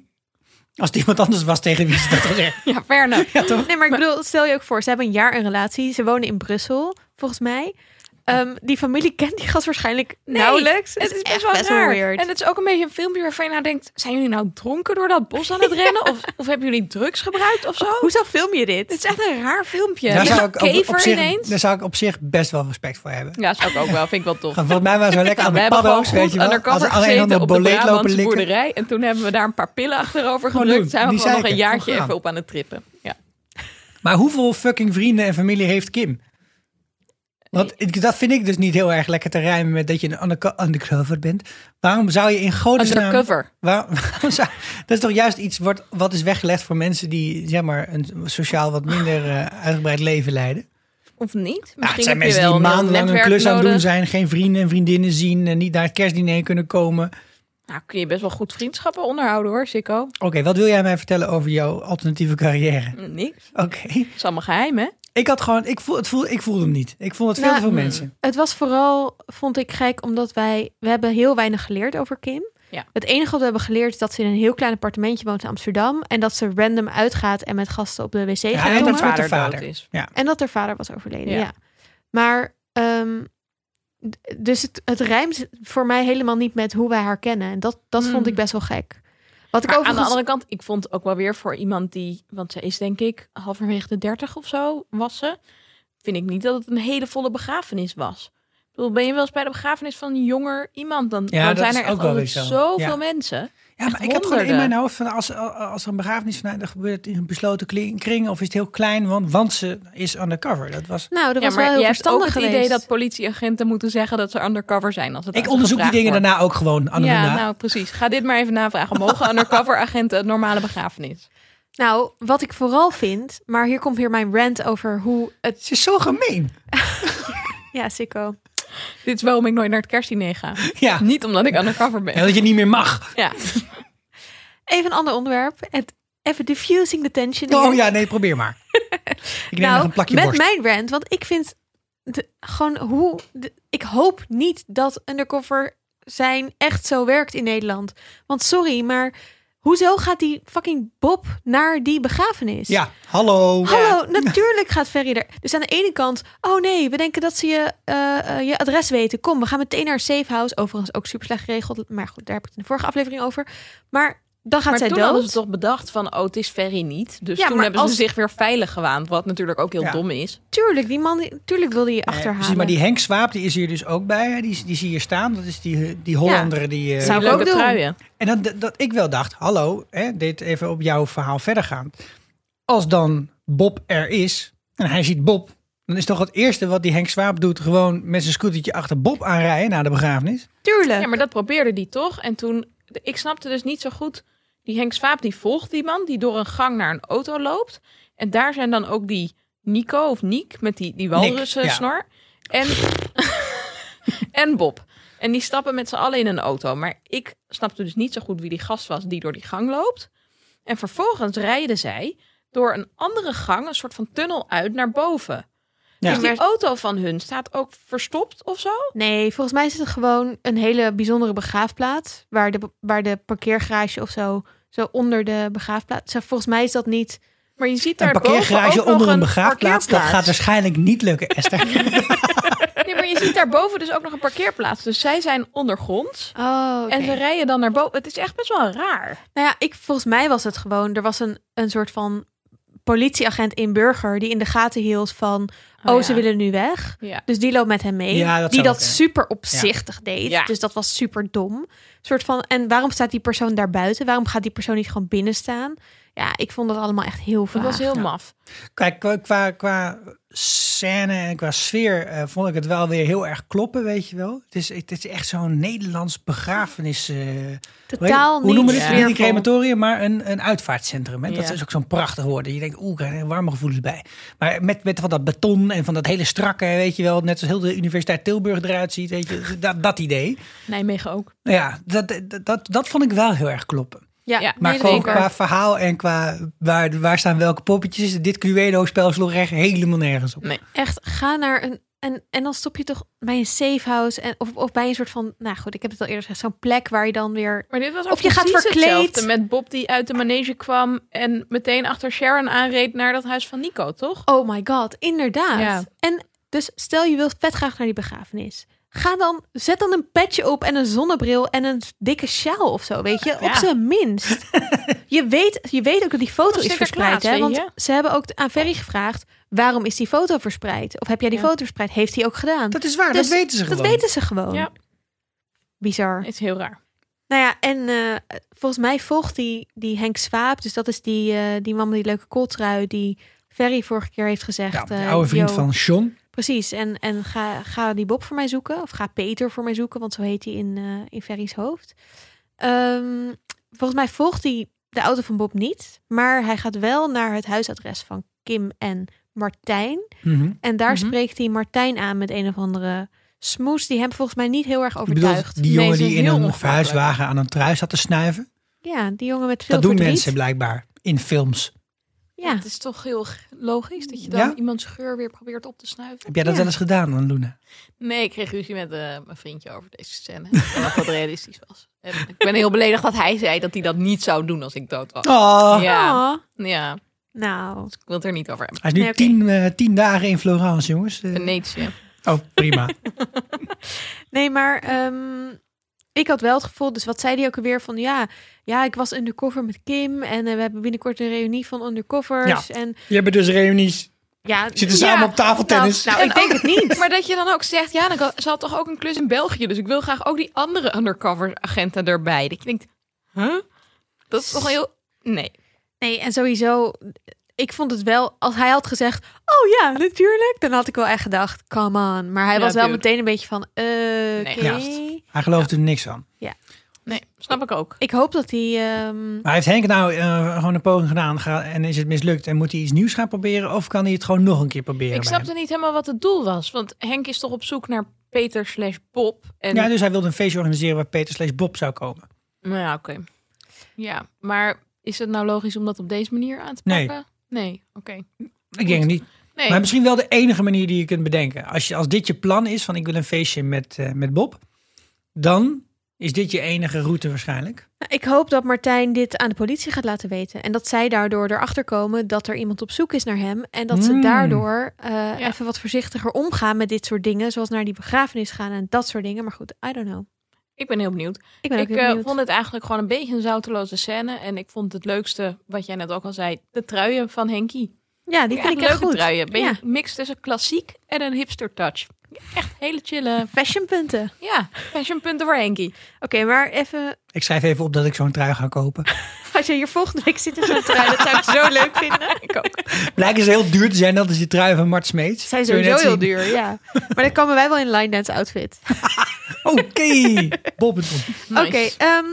Speaker 1: Als het iemand anders was tegen wie ze dat gezegd.
Speaker 3: Ja, fair enough.
Speaker 1: Ja, toch?
Speaker 2: Nee, maar ik bedoel, stel je ook voor, ze hebben een jaar een relatie. Ze wonen in Brussel, volgens mij. Ehm, die familie <laughs> kent die gast waarschijnlijk nauwelijks.
Speaker 3: Het is best
Speaker 2: echt
Speaker 3: wel raar.
Speaker 2: weird.
Speaker 3: En het is ook een beetje een filmpje waarvan je nou denkt... zijn jullie nou dronken door dat bos <laughs> aan het rennen? Of, of hebben jullie drugs gebruikt of zo?
Speaker 2: Hoezo film je dit?
Speaker 3: Het is echt een raar filmpje.
Speaker 1: Daar
Speaker 3: Die
Speaker 1: zou, ik op, op
Speaker 3: kever
Speaker 1: zich,
Speaker 3: ineens.
Speaker 1: daar zou ik op zich best wel respect voor hebben.
Speaker 3: Ja, zou ik ook wel. Vind ik wel tof.
Speaker 1: Want volgens mij waren ze lekker
Speaker 3: Nou,
Speaker 1: aan
Speaker 3: we
Speaker 1: de
Speaker 3: hebben gewoon
Speaker 1: paddo's,
Speaker 3: goed
Speaker 1: weet je wel.
Speaker 3: undercover
Speaker 1: Als alleen
Speaker 3: gezeten
Speaker 1: dan
Speaker 3: op
Speaker 1: op
Speaker 3: de
Speaker 1: boleet lopen
Speaker 3: Brabantse
Speaker 1: likken.
Speaker 3: boerderij. En toen hebben we daar een paar pillen achterover
Speaker 1: Gewoon
Speaker 3: gedrukt.
Speaker 1: doen,
Speaker 3: Zijn we
Speaker 1: niet
Speaker 3: gewoon nog een
Speaker 1: zeiken, gewoon
Speaker 3: jaartje
Speaker 1: gaan.
Speaker 3: even op aan het trippen. Ja.
Speaker 1: Maar hoeveel fucking vrienden en familie heeft Kim? Want ik- dat vind ik dus niet heel erg lekker te rijmen met dat je een underco- undercover bent. Waarom zou je in godesnaam...
Speaker 3: Undercover.
Speaker 1: Waar- <laughs> waarom zou- dat is toch juist iets wat, wat is weggelegd voor mensen die zeg maar, een sociaal wat minder eh, uitgebreid leven leiden.
Speaker 3: Of niet?
Speaker 1: Ja, Ah, het
Speaker 3: Misschien
Speaker 1: zijn
Speaker 3: heb je
Speaker 1: mensen
Speaker 3: wel
Speaker 1: die
Speaker 3: een heel
Speaker 1: maandenlang een
Speaker 3: netwerk
Speaker 1: klus aan het doen
Speaker 3: nodig.
Speaker 1: zijn, geen vrienden en vriendinnen zien en niet naar het kerstdiner kunnen komen.
Speaker 3: Nou, kun je best wel goed vriendschappen onderhouden hoor, Sikko.
Speaker 1: Oké, wat wil jij mij vertellen over jouw alternatieve carrière?
Speaker 3: Niks.
Speaker 1: Oké,
Speaker 3: Het is allemaal geheim, hè?
Speaker 1: ik had gewoon, ik voel, het voel, ik voelde hem niet. Ik voelde het veel
Speaker 2: Nou,
Speaker 1: te veel
Speaker 3: hmm.
Speaker 1: mensen.
Speaker 2: Het was vooral, vond ik gek, omdat wij, we hebben heel weinig geleerd over Kim.
Speaker 3: Ja.
Speaker 2: Het enige wat we hebben geleerd is dat ze in een heel klein appartementje woont in Amsterdam. En dat ze random uitgaat en met gasten op de wc
Speaker 1: Ja,
Speaker 2: gaat
Speaker 1: en
Speaker 2: tongen.
Speaker 1: dat wordt de
Speaker 3: vader dood
Speaker 1: vader.
Speaker 3: is.
Speaker 1: Ja.
Speaker 2: En dat haar vader was overleden,
Speaker 3: Ja.
Speaker 2: ja. Maar, ehm, d- dus het, het rijmt voor mij helemaal niet met hoe wij haar kennen. En dat, dat
Speaker 3: Hmm.
Speaker 2: vond ik best wel gek. Wat ik
Speaker 3: Maar aan de
Speaker 2: overigens...
Speaker 3: andere kant, ik vond ook wel weer voor iemand die... Want ze is denk ik halverwege de dertig of zo, was ze. Vind ik niet dat het een hele volle begrafenis was. Ik bedoel, ben je wel eens bij de begrafenis van een jonger iemand? Dan,
Speaker 1: Ja,
Speaker 3: dan
Speaker 1: dat
Speaker 3: zijn
Speaker 1: is
Speaker 3: er echt
Speaker 1: ook wel
Speaker 3: altijd
Speaker 1: weer zo.
Speaker 3: zoveel
Speaker 1: Ja.
Speaker 3: mensen.
Speaker 1: Ja,
Speaker 3: Echt
Speaker 1: maar ik had gewoon in
Speaker 3: honderden.
Speaker 1: mijn hoofd van als, als er een begrafenis vanuit gebeurt in een besloten kli- kring of is het heel klein, want, want ze is undercover. Dat was.
Speaker 2: Nou, dat
Speaker 3: Ja,
Speaker 2: was wel
Speaker 3: maar
Speaker 2: heel
Speaker 3: je hebt ook
Speaker 2: verstandig
Speaker 3: het
Speaker 2: geweest.
Speaker 3: idee dat politieagenten moeten zeggen dat ze undercover zijn. Als het aan
Speaker 1: Ik
Speaker 3: ze
Speaker 1: onderzoek die
Speaker 3: gevraagd
Speaker 1: dingen
Speaker 3: wordt.
Speaker 1: daarna ook gewoon aan de
Speaker 3: Ja,
Speaker 1: na.
Speaker 3: nou precies. Ga dit maar even
Speaker 1: <laughs>
Speaker 3: navragen. Mogen undercover agenten een normale begrafenis?
Speaker 2: Nou, wat ik vooral vind... Maar hier komt weer mijn rant over hoe het...
Speaker 1: Ze is zo gemeen.
Speaker 2: Ja, sicko.
Speaker 3: Dit is waarom ik nooit naar het kerstdiner
Speaker 1: <laughs>
Speaker 3: ga.
Speaker 1: Ja.
Speaker 3: Niet omdat ik undercover
Speaker 1: En
Speaker 3: ben.
Speaker 1: dat je niet meer mag.
Speaker 3: Ja,
Speaker 2: Even een ander onderwerp. Het, even diffusing the tension.
Speaker 1: Oh
Speaker 2: hier.
Speaker 3: Nou,
Speaker 1: ja, nee, probeer maar. Ik neem nog een plakje
Speaker 2: Nou, met
Speaker 1: worst.
Speaker 2: mijn rant, want ik vind de- gewoon hoe. de- ik hoop niet dat undercover zijn echt zo werkt in Nederland. Want sorry, maar hoezo gaat die fucking Bob naar die begrafenis?
Speaker 1: Ja, hallo.
Speaker 2: Hallo,
Speaker 1: <laughs>
Speaker 2: natuurlijk gaat Ferry er. Dus aan de ene kant, oh nee, we denken dat ze je, eh, eh, je adres weten. Kom, we gaan meteen naar een safe house. Overigens ook super slecht geregeld. Maar goed, daar heb ik het in de vorige aflevering over. Maar dan gaat
Speaker 3: Maar
Speaker 2: zij
Speaker 3: toen
Speaker 2: dood.
Speaker 3: hadden ze toch bedacht van, oh, het is Ferry niet. Dus
Speaker 2: Ja,
Speaker 3: toen
Speaker 2: maar
Speaker 3: hebben
Speaker 2: als-
Speaker 3: ze zich weer veilig gewaand. Wat natuurlijk ook heel
Speaker 1: Ja.
Speaker 3: dom is.
Speaker 2: Tuurlijk, die man, die- tuurlijk wilde je
Speaker 1: Nee, Eh, precies,
Speaker 2: achterhalen.
Speaker 1: maar die Henk Swaap die is hier dus ook bij. hè. Die, die zie je staan. Dat is die, die Hollander. Die, eh,
Speaker 2: Zou ik
Speaker 3: Leuke
Speaker 2: ook doen.
Speaker 3: truien.
Speaker 1: En dat, dat ik wel dacht, hallo, hè, dit even op jouw verhaal verder gaan. Als dan Bob er is en hij ziet Bob, dan is toch het eerste wat die Henk Swaap doet gewoon met zijn scootertje achter Bob aanrijden na de begrafenis.
Speaker 2: Tuurlijk.
Speaker 3: Ja, maar dat probeerde die toch. En toen, ik snapte dus niet zo goed. Die Henk Swaap die volgt die man die door een gang naar een auto loopt. En daar zijn dan ook die Nico of Niek met die, die walrussen
Speaker 1: ja.
Speaker 3: snor. En, <laughs> en Bob. En die stappen met z'n allen in een auto. Maar ik snapte dus niet zo goed wie die gast was die door die gang loopt. En vervolgens rijden zij door een andere gang, een soort van tunnel uit naar boven.
Speaker 1: Ja.
Speaker 3: Dus die
Speaker 2: Maar-
Speaker 3: auto van hun staat ook verstopt of zo.
Speaker 2: Nee, volgens mij is het gewoon een hele bijzondere begraafplaats. Waar de, waar de parkeergarage of zo, zo onder de begraafplaats. Zo, Volgens mij is dat niet...
Speaker 3: Maar je ziet daar
Speaker 1: Een parkeergarage onder een begraafplaats, dat gaat
Speaker 3: dus.
Speaker 1: waarschijnlijk niet lukken, Esther.
Speaker 3: Nee, maar je ziet daarboven dus ook nog een parkeerplaats. Dus zij zijn ondergronds.
Speaker 2: Oh,
Speaker 3: En ze rijden dan naar boven. Het is echt best wel raar.
Speaker 2: Nou ja, ik, volgens mij was het gewoon... Er was een, een soort van politieagent in Burger... die in de gaten hield van... Oh, ze willen nu weg.
Speaker 3: Ja.
Speaker 2: Dus die loopt met hem mee.
Speaker 1: Ja, dat
Speaker 2: die
Speaker 1: zou
Speaker 2: dat
Speaker 1: ook, hè.
Speaker 2: super opzichtig deed.
Speaker 3: Ja.
Speaker 2: Dus dat was super dom. Soort van, en waarom staat die persoon daar buiten? Waarom gaat die persoon niet gewoon binnen staan? Ja, ik vond dat allemaal echt heel
Speaker 3: Dat
Speaker 2: vaag.
Speaker 3: was heel
Speaker 1: Ja.
Speaker 3: maf.
Speaker 1: Kijk, qua, qua, qua scène en qua sfeer eh, vond ik het wel weer heel erg kloppen, weet je wel. Het is, het is echt zo'n Nederlands begrafenis... eh,
Speaker 2: Totaal
Speaker 1: Hoe noemen we
Speaker 2: niet
Speaker 1: dit? Niet een
Speaker 2: sfeervol.
Speaker 1: crematorium, maar een, een uitvaartcentrum. Hè? Dat
Speaker 3: Ja.
Speaker 1: is ook zo'n prachtig woord. Je denkt, oeh, ik krijg er warme gevoelens bij. Maar met, met van dat beton en van dat hele strakke, weet je wel, net als heel de Universiteit Tilburg eruit ziet, weet je, dat, dat idee.
Speaker 3: Nijmegen ook.
Speaker 1: Nou ja, dat, dat, dat, dat vond ik wel heel erg kloppen.
Speaker 2: Ja,
Speaker 3: Ja,
Speaker 1: Maar
Speaker 2: nee,
Speaker 1: gewoon
Speaker 2: zeker.
Speaker 1: qua verhaal en qua waar, waar staan welke poppetjes, dit Cluedo-spel sloeg echt helemaal nergens op.
Speaker 3: Nee.
Speaker 2: Echt, ga naar een... En, en dan stop je toch bij een safe house en, of, of bij een soort van... Nou goed, ik heb het al eerder gezegd. Zo'n plek waar je dan weer...
Speaker 3: Maar dit was ook
Speaker 2: Of je gaat
Speaker 3: precies
Speaker 2: verkleed.
Speaker 3: hetzelfde met Bob die uit de manege kwam en meteen achter Sharon aanreed naar dat huis van Nico, toch?
Speaker 2: Oh my god, inderdaad.
Speaker 3: Ja.
Speaker 2: En dus stel je wilt vet graag naar die begrafenis. Ga dan, zet dan een petje op en een zonnebril en een dikke sjaal of zo, weet je? Op
Speaker 3: Ja.
Speaker 2: zijn
Speaker 3: <laughs>
Speaker 2: minst. je, weet, je weet ook dat die foto
Speaker 3: Of
Speaker 2: is verspreid,
Speaker 3: Sinterklaas,
Speaker 2: hè?
Speaker 3: weet
Speaker 2: Want
Speaker 3: je?
Speaker 2: ze hebben ook aan Ferry gevraagd, waarom is die foto verspreid? Of heb jij die
Speaker 3: Ja.
Speaker 2: foto verspreid? Heeft hij ook gedaan?
Speaker 1: Dat is waar,
Speaker 2: Dus
Speaker 1: dat weten ze
Speaker 2: Dat
Speaker 1: gewoon.
Speaker 2: weten ze gewoon.
Speaker 3: Ja.
Speaker 2: Bizar.
Speaker 3: Het is heel raar.
Speaker 2: Nou ja, en eh, volgens mij volgt die, die Henk Swaap. Dus dat is die, eh, die man met die leuke kooltrui die Ferry vorige keer heeft
Speaker 1: Ja,
Speaker 2: gezegd.
Speaker 1: de
Speaker 2: eh,
Speaker 1: oude vriend
Speaker 2: yo,
Speaker 1: van Sean.
Speaker 2: Precies, en, en ga, ga die Bob voor mij zoeken. Of ga Peter voor mij zoeken, want zo heet hij in, eh in Ferry's hoofd. Ehm, volgens mij volgt hij de auto van Bob niet. Maar hij gaat wel naar het huisadres van Kim en Martijn.
Speaker 1: Mhm.
Speaker 2: En daar
Speaker 3: Mhm.
Speaker 2: spreekt hij Martijn aan met een of andere smoes... die hem volgens mij niet heel erg
Speaker 1: Ik bedoel,
Speaker 2: overtuigt.
Speaker 1: die
Speaker 3: Nee,
Speaker 1: jongen
Speaker 3: ze
Speaker 1: die
Speaker 3: is
Speaker 1: in
Speaker 3: heel
Speaker 1: een
Speaker 3: ongemakkelijk.
Speaker 1: verhuiswagen aan een trui zat te snuiven.
Speaker 2: Ja, die jongen met veel
Speaker 1: Dat doen
Speaker 2: verdriet.
Speaker 1: mensen blijkbaar in films.
Speaker 2: Ja.
Speaker 3: Het is toch heel g- logisch dat je dan
Speaker 1: Ja?
Speaker 3: iemands geur weer probeert op te snuiven.
Speaker 1: Heb jij dat
Speaker 2: Ja.
Speaker 1: wel eens gedaan dan, Luna?
Speaker 3: Nee, ik kreeg ruzie met eh, mijn vriendje over deze scène. En dat dat realistisch was. En ik ben heel beledigd dat hij zei dat hij dat niet zou doen als ik dood was.
Speaker 1: Oh,
Speaker 3: Ja,
Speaker 2: Oh,
Speaker 3: ja,
Speaker 2: nou,
Speaker 3: dus ik wil het er niet over hebben.
Speaker 1: hij is nu
Speaker 2: Nee, oké.
Speaker 1: tien, eh, tien dagen in Florence, jongens. Eh,
Speaker 3: Venetië.
Speaker 1: Oh,
Speaker 2: <laughs>
Speaker 1: prima.
Speaker 2: Nee, maar ehm, ik had wel het gevoel, dus wat zei die ook alweer van ja, ja, ik was undercover met Kim en eh, we hebben binnenkort een reunie van undercovers. En,
Speaker 1: Je hebt dus reunies.
Speaker 2: ja,
Speaker 1: Zitten
Speaker 2: ja,
Speaker 1: samen op tafeltennis.
Speaker 2: Nou, nou, ik denk het niet.
Speaker 3: Maar dat je dan ook zegt, ja, dan kan- ze had toch ook een klus in België. Dus ik wil graag ook die andere undercover agenten erbij. Dat je denkt, huh? Dat is toch heel... Nee.
Speaker 2: Nee, en sowieso, ik vond het wel, als hij had gezegd, oh ja, natuurlijk, dan had ik wel echt gedacht, come on. Maar hij
Speaker 3: Ja,
Speaker 2: was wel
Speaker 3: dude.
Speaker 2: meteen een beetje van, eh, oké.
Speaker 1: juist.
Speaker 2: nou.
Speaker 1: Hij gelooft er niks van.
Speaker 3: Nee, snap ik ook.
Speaker 2: Ik hoop dat hij, ehm,
Speaker 1: Maar heeft Henk nou eh, gewoon een poging gedaan ga- en is het mislukt? En moet hij iets nieuws gaan proberen? Of kan hij het gewoon nog een keer proberen?
Speaker 3: Ik
Speaker 1: bij
Speaker 3: snapte niet helemaal wat het doel was. Want Henk is toch op zoek naar Peter slash Bob. En
Speaker 1: hem? Ja, dus hij wilde een feestje organiseren waar Peter slash Bob zou komen.
Speaker 3: Nou ja, oké. Ja, maar is het nou logisch om dat op deze manier aan te
Speaker 1: Nee.
Speaker 3: pakken? Nee. oké.
Speaker 1: Ik denk het niet.
Speaker 3: Nee.
Speaker 1: Maar misschien wel de enige manier die je kunt bedenken. Als, je, als dit je plan is van ik wil een feestje met, eh, met Bob, dan is dit je enige route waarschijnlijk.
Speaker 2: Nou, Ik hoop dat Martijn dit aan de politie gaat laten weten. En dat zij daardoor erachter komen dat er iemand op zoek is naar hem. En dat ze
Speaker 1: Mm.
Speaker 2: daardoor eh, even wat voorzichtiger omgaan met dit soort dingen. Zoals naar die begrafenis gaan en dat soort dingen. Maar goed, I don't know.
Speaker 3: Ik ben heel benieuwd.
Speaker 2: Ik ben ook
Speaker 3: ik
Speaker 2: heel
Speaker 3: eh,
Speaker 2: benieuwd.
Speaker 3: vond het eigenlijk gewoon een beetje een zouteloze scène. En ik vond het leukste, wat jij net ook al zei, de truien van Henkie.
Speaker 2: ja, die vind ik echt
Speaker 3: leuke
Speaker 2: goed.
Speaker 3: truien. Ben
Speaker 2: Ja.
Speaker 3: je mix tussen klassiek en een hipster touch. Echt hele chille.
Speaker 2: Fashionpunten. Oké,
Speaker 3: Ja, fashionpunten voor Henkie.
Speaker 2: maar even...
Speaker 1: Ik schrijf even op dat ik zo'n trui ga kopen.
Speaker 2: <laughs>
Speaker 1: <laughs>
Speaker 2: Als je hier volgende week zit in zo'n trui, dat zou ik zo leuk vinden.
Speaker 3: Ik ook.
Speaker 1: Blijken ze dus heel duur te zijn, dat is die trui van Mart Smeets.
Speaker 2: Zijn
Speaker 1: Kun je net
Speaker 2: sowieso heel
Speaker 1: zien.
Speaker 2: duur, ja. Maar dan komen wij wel in line dance outfit.
Speaker 1: Oké, Bob het op.
Speaker 2: Oké, ehm,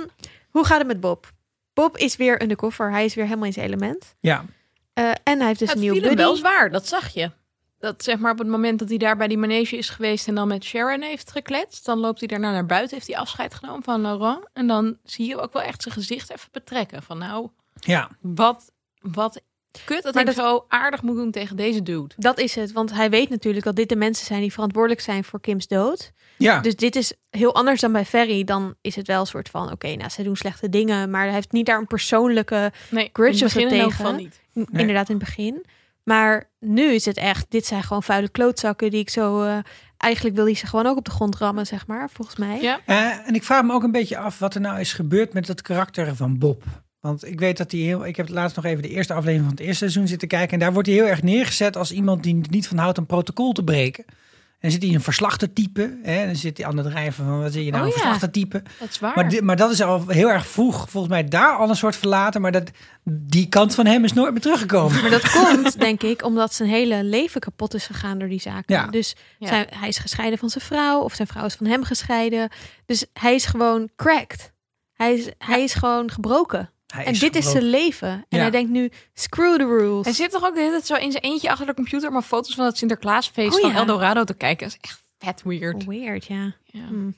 Speaker 2: hoe gaat het met Bob? Bob is weer undercover. Hij is weer helemaal in zijn element.
Speaker 1: Ja,
Speaker 2: Eh, en hij heeft dus
Speaker 3: het
Speaker 2: een
Speaker 3: viel
Speaker 2: nieuwe
Speaker 3: hem
Speaker 2: buddy.
Speaker 3: wel zwaar, dat zag je. Dat zeg maar op het moment dat hij daar bij die manege is geweest en dan met Sharon heeft gekletst, dan loopt hij daarna naar buiten, heeft hij afscheid genomen van Laurent. En dan zie je ook wel echt zijn gezicht even betrekken. Van nou,
Speaker 1: ja.
Speaker 3: wat, wat kut dat
Speaker 2: Maar
Speaker 3: ik zo aardig moet doen tegen deze dude.
Speaker 2: Dat is het, want hij weet natuurlijk dat dit de mensen zijn die verantwoordelijk zijn voor Kim's dood.
Speaker 1: ja.
Speaker 2: Dus dit is heel anders dan bij Ferry. Dan is het wel een soort van, oké, nou, ze doen slechte dingen, maar hij heeft niet daar een persoonlijke,
Speaker 3: Nee,
Speaker 2: Grudge
Speaker 3: in
Speaker 2: was
Speaker 3: het
Speaker 2: er
Speaker 3: begin in elk
Speaker 2: tegen.
Speaker 3: geval niet.
Speaker 2: inderdaad in het begin. Maar nu is het echt, dit zijn gewoon vuile klootzakken die ik zo, eh, eigenlijk wil die ze gewoon ook op de grond rammen, zeg maar, volgens mij.
Speaker 3: Ja.
Speaker 1: Eh, en ik vraag me ook een beetje af wat er nou is gebeurd met het karakter van Bob. Want ik weet dat hij heel. Ik heb laatst nog even de eerste aflevering van het eerste seizoen zitten kijken. En daar wordt hij heel erg neergezet als iemand die er niet van houdt een protocol te breken. En dan zit hij een verslachtertype. Hè? En dan zit hij aan het drijven van wat zie je nou,
Speaker 3: Oh
Speaker 1: een
Speaker 3: ja.
Speaker 1: verslachtertype.
Speaker 3: Dat is waar.
Speaker 1: Maar, di- maar dat is al heel erg vroeg, volgens mij, daar al een soort verlaten. Maar dat, die kant van hem is nooit meer teruggekomen.
Speaker 2: Maar dat komt, denk ik, omdat zijn hele leven kapot is gegaan door die zaken.
Speaker 1: Ja.
Speaker 2: Dus
Speaker 3: Ja.
Speaker 2: zijn- hij is gescheiden van zijn vrouw, of zijn vrouw is van hem gescheiden. Dus hij is gewoon cracked. Hij is, hij is gewoon gebroken.
Speaker 1: Hij
Speaker 2: en dit is
Speaker 1: gebroken.
Speaker 2: zijn leven. En
Speaker 1: Ja.
Speaker 2: hij denkt nu, screw the rules.
Speaker 3: Hij zit toch ook de hele tijd zo in zijn eentje achter de computer maar foto's van dat Sinterklaasfeest
Speaker 2: Oh
Speaker 3: van
Speaker 2: ja. Oh.
Speaker 3: Eldorado te kijken. Dat is echt vet weird.
Speaker 2: Weird, ja.
Speaker 3: Ja.
Speaker 2: Hm.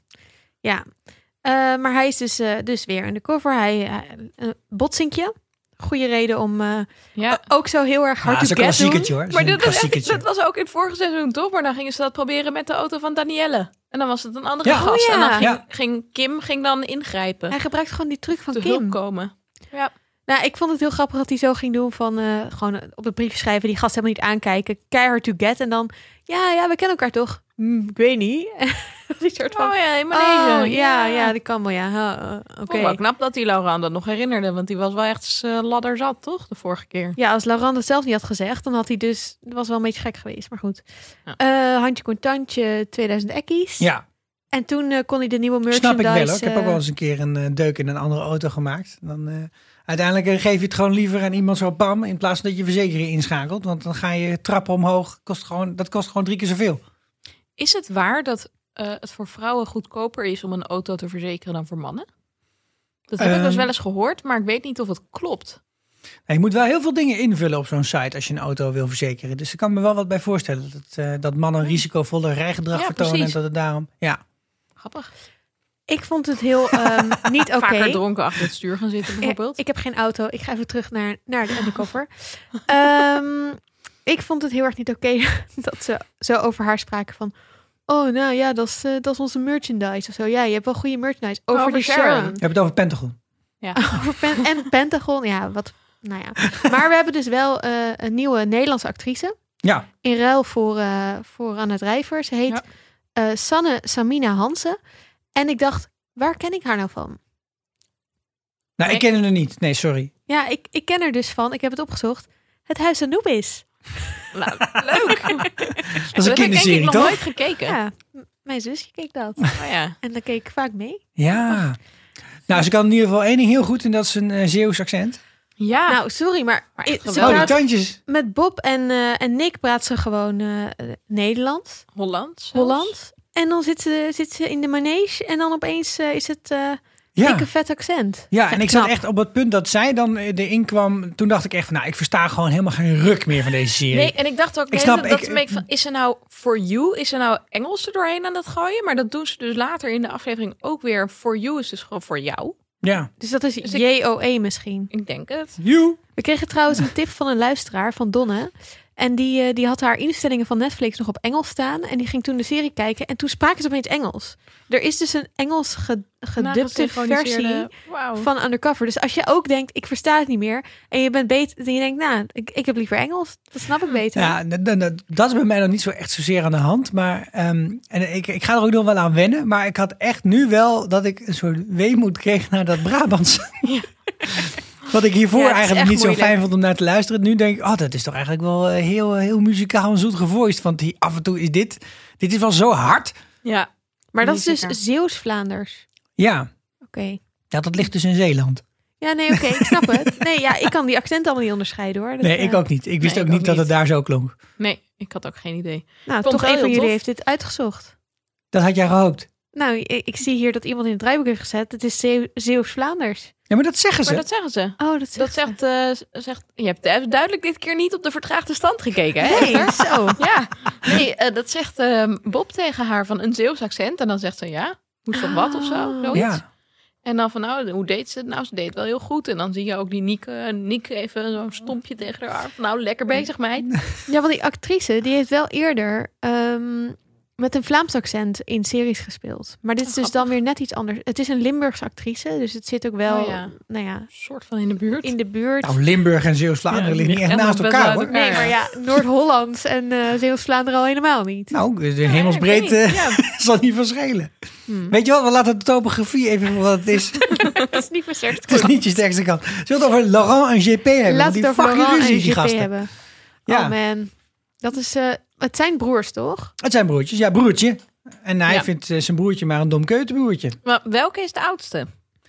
Speaker 2: Ja. Eh, maar hij is dus, eh, dus weer undercover. Hij, eh, een botsingje. Goede reden om eh,
Speaker 3: Ja.
Speaker 2: ook zo heel erg hard
Speaker 1: Ja, is
Speaker 2: te
Speaker 1: een
Speaker 2: get doen.
Speaker 1: klassiekertje hoor. Is
Speaker 3: Maar
Speaker 1: een
Speaker 3: dat, was echt-
Speaker 1: klassiekertje.
Speaker 3: dat was ook in het vorige seizoen, toch? Maar dan gingen ze dat proberen met de auto van Danielle. En dan was het een andere
Speaker 1: Ja.
Speaker 3: gast.
Speaker 2: Oh ja.
Speaker 3: En dan ging,
Speaker 1: Ja.
Speaker 3: ging Kim ging dan ingrijpen.
Speaker 2: Hij gebruikt gewoon die truc van
Speaker 3: te hulp
Speaker 2: Kim.
Speaker 3: komen.
Speaker 2: Nou, ik vond het heel grappig dat hij zo ging doen van eh, gewoon op het briefje schrijven, die gast helemaal niet aankijken, keihard to get en dan, ja, ja, we kennen elkaar toch? Hm, ik weet niet. <laughs> die soort van,
Speaker 3: Oh ja, helemaal
Speaker 2: oh,
Speaker 3: deze.
Speaker 2: ja, ja, dat kan wel, ja. Huh, eh, Oké.
Speaker 3: Vond ik wel knap dat die Laurent dat nog herinnerde. Want die was wel echt eh, ladder zat, toch? De vorige keer.
Speaker 2: Ja, als Laurent het zelf niet had gezegd, dan had hij dus, dat was wel een beetje gek geweest, maar goed.
Speaker 3: Ja.
Speaker 2: Eh, handje contantje, 2000 ekkies.
Speaker 1: Ja,
Speaker 2: En toen eh, kon hij de nieuwe merchandise.
Speaker 1: snap ik wel. Hoor. Ik heb ook
Speaker 2: eh,
Speaker 1: wel eens een keer een eh, deuk in een andere auto gemaakt. Dan, eh, uiteindelijk eh, geef je het gewoon liever aan iemand zo bam... in plaats van dat je verzekering inschakelt. Want dan ga je trappen omhoog. Kost gewoon, dat kost gewoon drie keer zoveel.
Speaker 3: Is het waar dat eh, het voor vrouwen goedkoper is om een auto te verzekeren dan voor mannen? Dat heb ik
Speaker 1: Ehm.
Speaker 3: dus wel eens gehoord, maar ik weet niet of het klopt.
Speaker 1: Nou, je moet wel heel veel dingen invullen op zo'n site... als je een auto wil verzekeren. Dus ik kan me wel wat bij voorstellen. Dat, eh, dat mannen risicovoller rijgedrag
Speaker 3: Ja,
Speaker 1: vertonen.
Speaker 3: precies.
Speaker 1: En dat het daarom... Ja,
Speaker 3: Grappig.
Speaker 2: Ik vond het heel ehm,
Speaker 3: <laughs>
Speaker 2: niet oké.
Speaker 3: Vaker dronken achter het stuur gaan <laughs> zitten bijvoorbeeld.
Speaker 2: Eh, Ik heb geen auto. Ik ga even terug naar, naar de undercover. Ehm, ik vond het heel erg niet oké <laughs> dat ze zo over haar spraken van... Oh, nou ja, dat is, eh, dat is onze merchandise of zo. Ja, je hebt wel goede merchandise. Over,
Speaker 3: Over
Speaker 2: de
Speaker 3: Sharon.
Speaker 2: Sharon.
Speaker 1: je hebt het over Pentagon.
Speaker 2: <laughs> Over Pen- en Pentagon. Ja, wat... Nou ja. Maar we hebben dus wel eh, een nieuwe Nederlandse actrice.
Speaker 1: Ja,
Speaker 2: In ruil voor, eh voor Anna Drijver. Ze heet
Speaker 3: Ja.
Speaker 2: eh, Sanne Samina Hansen. En ik dacht, waar ken ik haar nou van?
Speaker 1: nou ik
Speaker 3: Nee.
Speaker 1: ken hem er niet. Nee, sorry.
Speaker 2: Ja, ik, ik ken er dus van. Ik heb het opgezocht. Het Huis Anubis.
Speaker 3: Nou, <laughs> leuk.
Speaker 1: Dat is een
Speaker 3: heb ik
Speaker 1: kinderserie,
Speaker 3: denk ik nog
Speaker 1: toch?
Speaker 3: nooit gekeken.
Speaker 2: Ja, m- mijn zusje keek dat. <laughs>
Speaker 3: Oh ja.
Speaker 2: En daar keek ik vaak mee.
Speaker 1: Ja. Nou, ze kan in ieder geval één ding heel goed... en dat is een eh Zeeuws accent.
Speaker 3: Ja.
Speaker 2: Nou, sorry, maar,
Speaker 3: Ah. Maar
Speaker 2: i-
Speaker 3: echt
Speaker 2: ze
Speaker 1: Oh, die
Speaker 2: praat-
Speaker 1: tandjes.
Speaker 2: met Bob en, eh, en Nick praat ze gewoon eh, eh, Nederlands,
Speaker 3: Holland. zelfs.
Speaker 2: Hollands. En dan zit ze, zit ze in de manege en dan opeens eh, is het eh
Speaker 1: Ja.
Speaker 2: dikke vet accent.
Speaker 1: Ja, en ik zat
Speaker 2: knap.
Speaker 1: echt op het punt dat zij dan eh, erin kwam. Toen dacht ik echt van, nou, ik versta gewoon helemaal geen ruk meer van deze serie.
Speaker 3: Nee, en ik dacht ook, nee,
Speaker 1: snap,
Speaker 3: dat
Speaker 1: ik-
Speaker 3: ik, van, is er nou for you, is er nou Engels er doorheen aan dat gooien? Maar dat doen ze dus later in de aflevering ook weer. For you is dus gewoon voor jou.
Speaker 1: Ja.
Speaker 2: Dus dat is
Speaker 3: Dus ik-
Speaker 2: JOE misschien.
Speaker 3: Ik denk het.
Speaker 1: You.
Speaker 2: We kregen trouwens een tip van een luisteraar, van Donne. En die, eh, die had haar instellingen van Netflix nog op Engels staan. En die ging toen de serie kijken. En toen spraken ze opeens Engels. Er is dus een Engels ge- gedubte versie
Speaker 3: Wauw.
Speaker 2: van Undercover. Dus als je ook denkt, ik versta het niet meer. En je bent beter. En je denkt, nou, ik, ik heb liever Engels. Dat snap ik beter.
Speaker 1: Ja, d- d- d- dat is bij mij dan niet zo echt zozeer aan de hand. Maar ehm, en ik, ik ga er ook nog wel aan wennen. Maar ik had echt nu wel dat ik een soort weemoed kreeg naar dat
Speaker 2: <laughs>
Speaker 1: Brabants. Wat ik hiervoor
Speaker 2: Ja, het is
Speaker 1: eigenlijk
Speaker 2: echt
Speaker 1: niet zo
Speaker 2: moeilijk.
Speaker 1: fijn vond om naar te luisteren. Nu denk ik, oh, dat is toch eigenlijk wel eh, heel, eh, heel muzikaal en zoet gevoiced. Want die, af en toe is dit, dit is wel zo hard.
Speaker 3: Ja.
Speaker 2: maar dat is
Speaker 3: niet
Speaker 2: dus
Speaker 3: zeker.
Speaker 2: Zeeuws-Vlaanders.
Speaker 1: Ja,
Speaker 2: Oké.
Speaker 1: ja, dat ligt dus in Zeeland.
Speaker 2: Ja, nee, oké, ik snap het. Nee, ja, ik kan die accent allemaal niet onderscheiden hoor. Dat,
Speaker 1: Nee,
Speaker 2: eh,
Speaker 1: ik ook niet. Ik wist
Speaker 3: Nee,
Speaker 1: ook
Speaker 3: ik
Speaker 1: niet dat
Speaker 3: ook
Speaker 1: het
Speaker 3: niet.
Speaker 1: daar zo klonk.
Speaker 3: Nee, ik had ook geen idee.
Speaker 2: Nou,
Speaker 3: Vond
Speaker 2: toch
Speaker 3: ik wel
Speaker 2: een van
Speaker 3: heel
Speaker 2: jullie
Speaker 3: tof.
Speaker 2: heeft dit uitgezocht.
Speaker 1: Dat had jij gehoopt.
Speaker 2: Nou, ik, ik zie hier dat iemand in het draaiboek heeft gezet. Het is Zeeu- Zeeuws-Vlaanders.
Speaker 1: Ja, maar dat zeggen ze.
Speaker 3: Maar dat zeggen ze.
Speaker 2: Oh, dat,
Speaker 3: Dat zegt, eh, z- zegt, je hebt du- duidelijk dit keer niet op de vertraagde stand gekeken, hè?
Speaker 2: Nee, zo.
Speaker 3: Ja, nee, eh, dat zegt ehm, Bob tegen haar van een Zeeuws accent. En dan zegt ze ja, moest dat wat of zo,
Speaker 2: Ah.
Speaker 3: zoiets.
Speaker 1: ja.
Speaker 3: En dan van nou, hoe deed ze het? Nou, ze deed het wel heel goed. En dan zie je ook die Nieke, Nieke even zo'n stompje tegen haar arm. Van, Nou, lekker bezig meid.
Speaker 2: Ja, want die actrice die heeft wel eerder ehm, met een Vlaams accent in series gespeeld. Maar dit is dus dan weer net iets anders. Het is een Limburgse actrice, dus het zit ook wel,
Speaker 3: Oh ja.
Speaker 2: nou ja,
Speaker 3: Soort van in de buurt.
Speaker 2: in de buurt.
Speaker 1: Nou, Limburg en Zeeuws-Vlaanderen
Speaker 3: Ja,
Speaker 1: liggen niet echt
Speaker 3: en
Speaker 1: naast
Speaker 3: best
Speaker 1: elkaar
Speaker 3: uit
Speaker 1: hoor.
Speaker 2: Nee, maar ja, Noord-Hollands en eh Zeeuws-Vlaanderen al helemaal niet.
Speaker 1: Nou, de
Speaker 3: Ja,
Speaker 1: hemelsbreed
Speaker 3: ik weet
Speaker 1: eh,
Speaker 3: niet,
Speaker 1: <laughs>
Speaker 3: ja.
Speaker 1: zal niet verschillen.
Speaker 3: Hmm.
Speaker 1: Weet je wel, we laten de topografie even voor wat het
Speaker 3: <laughs>
Speaker 1: is.
Speaker 2: <laughs> dat is niet versterkt.
Speaker 1: het is niet je sterkste kant. Zullen we het over Laurent en GP hebben? Want
Speaker 2: Laat
Speaker 1: die
Speaker 2: het over
Speaker 1: fucking
Speaker 2: Laurent en
Speaker 1: ruzie, die
Speaker 2: JP
Speaker 1: gasten.
Speaker 2: hebben.
Speaker 1: Ja,
Speaker 2: Oh man, dat is... eh, het zijn broers, toch?
Speaker 1: het zijn broertjes. Ja, broertje. En hij
Speaker 3: Ja.
Speaker 1: vindt eh, zijn broertje maar een dom keutenbroertje.
Speaker 3: Maar welke is de oudste?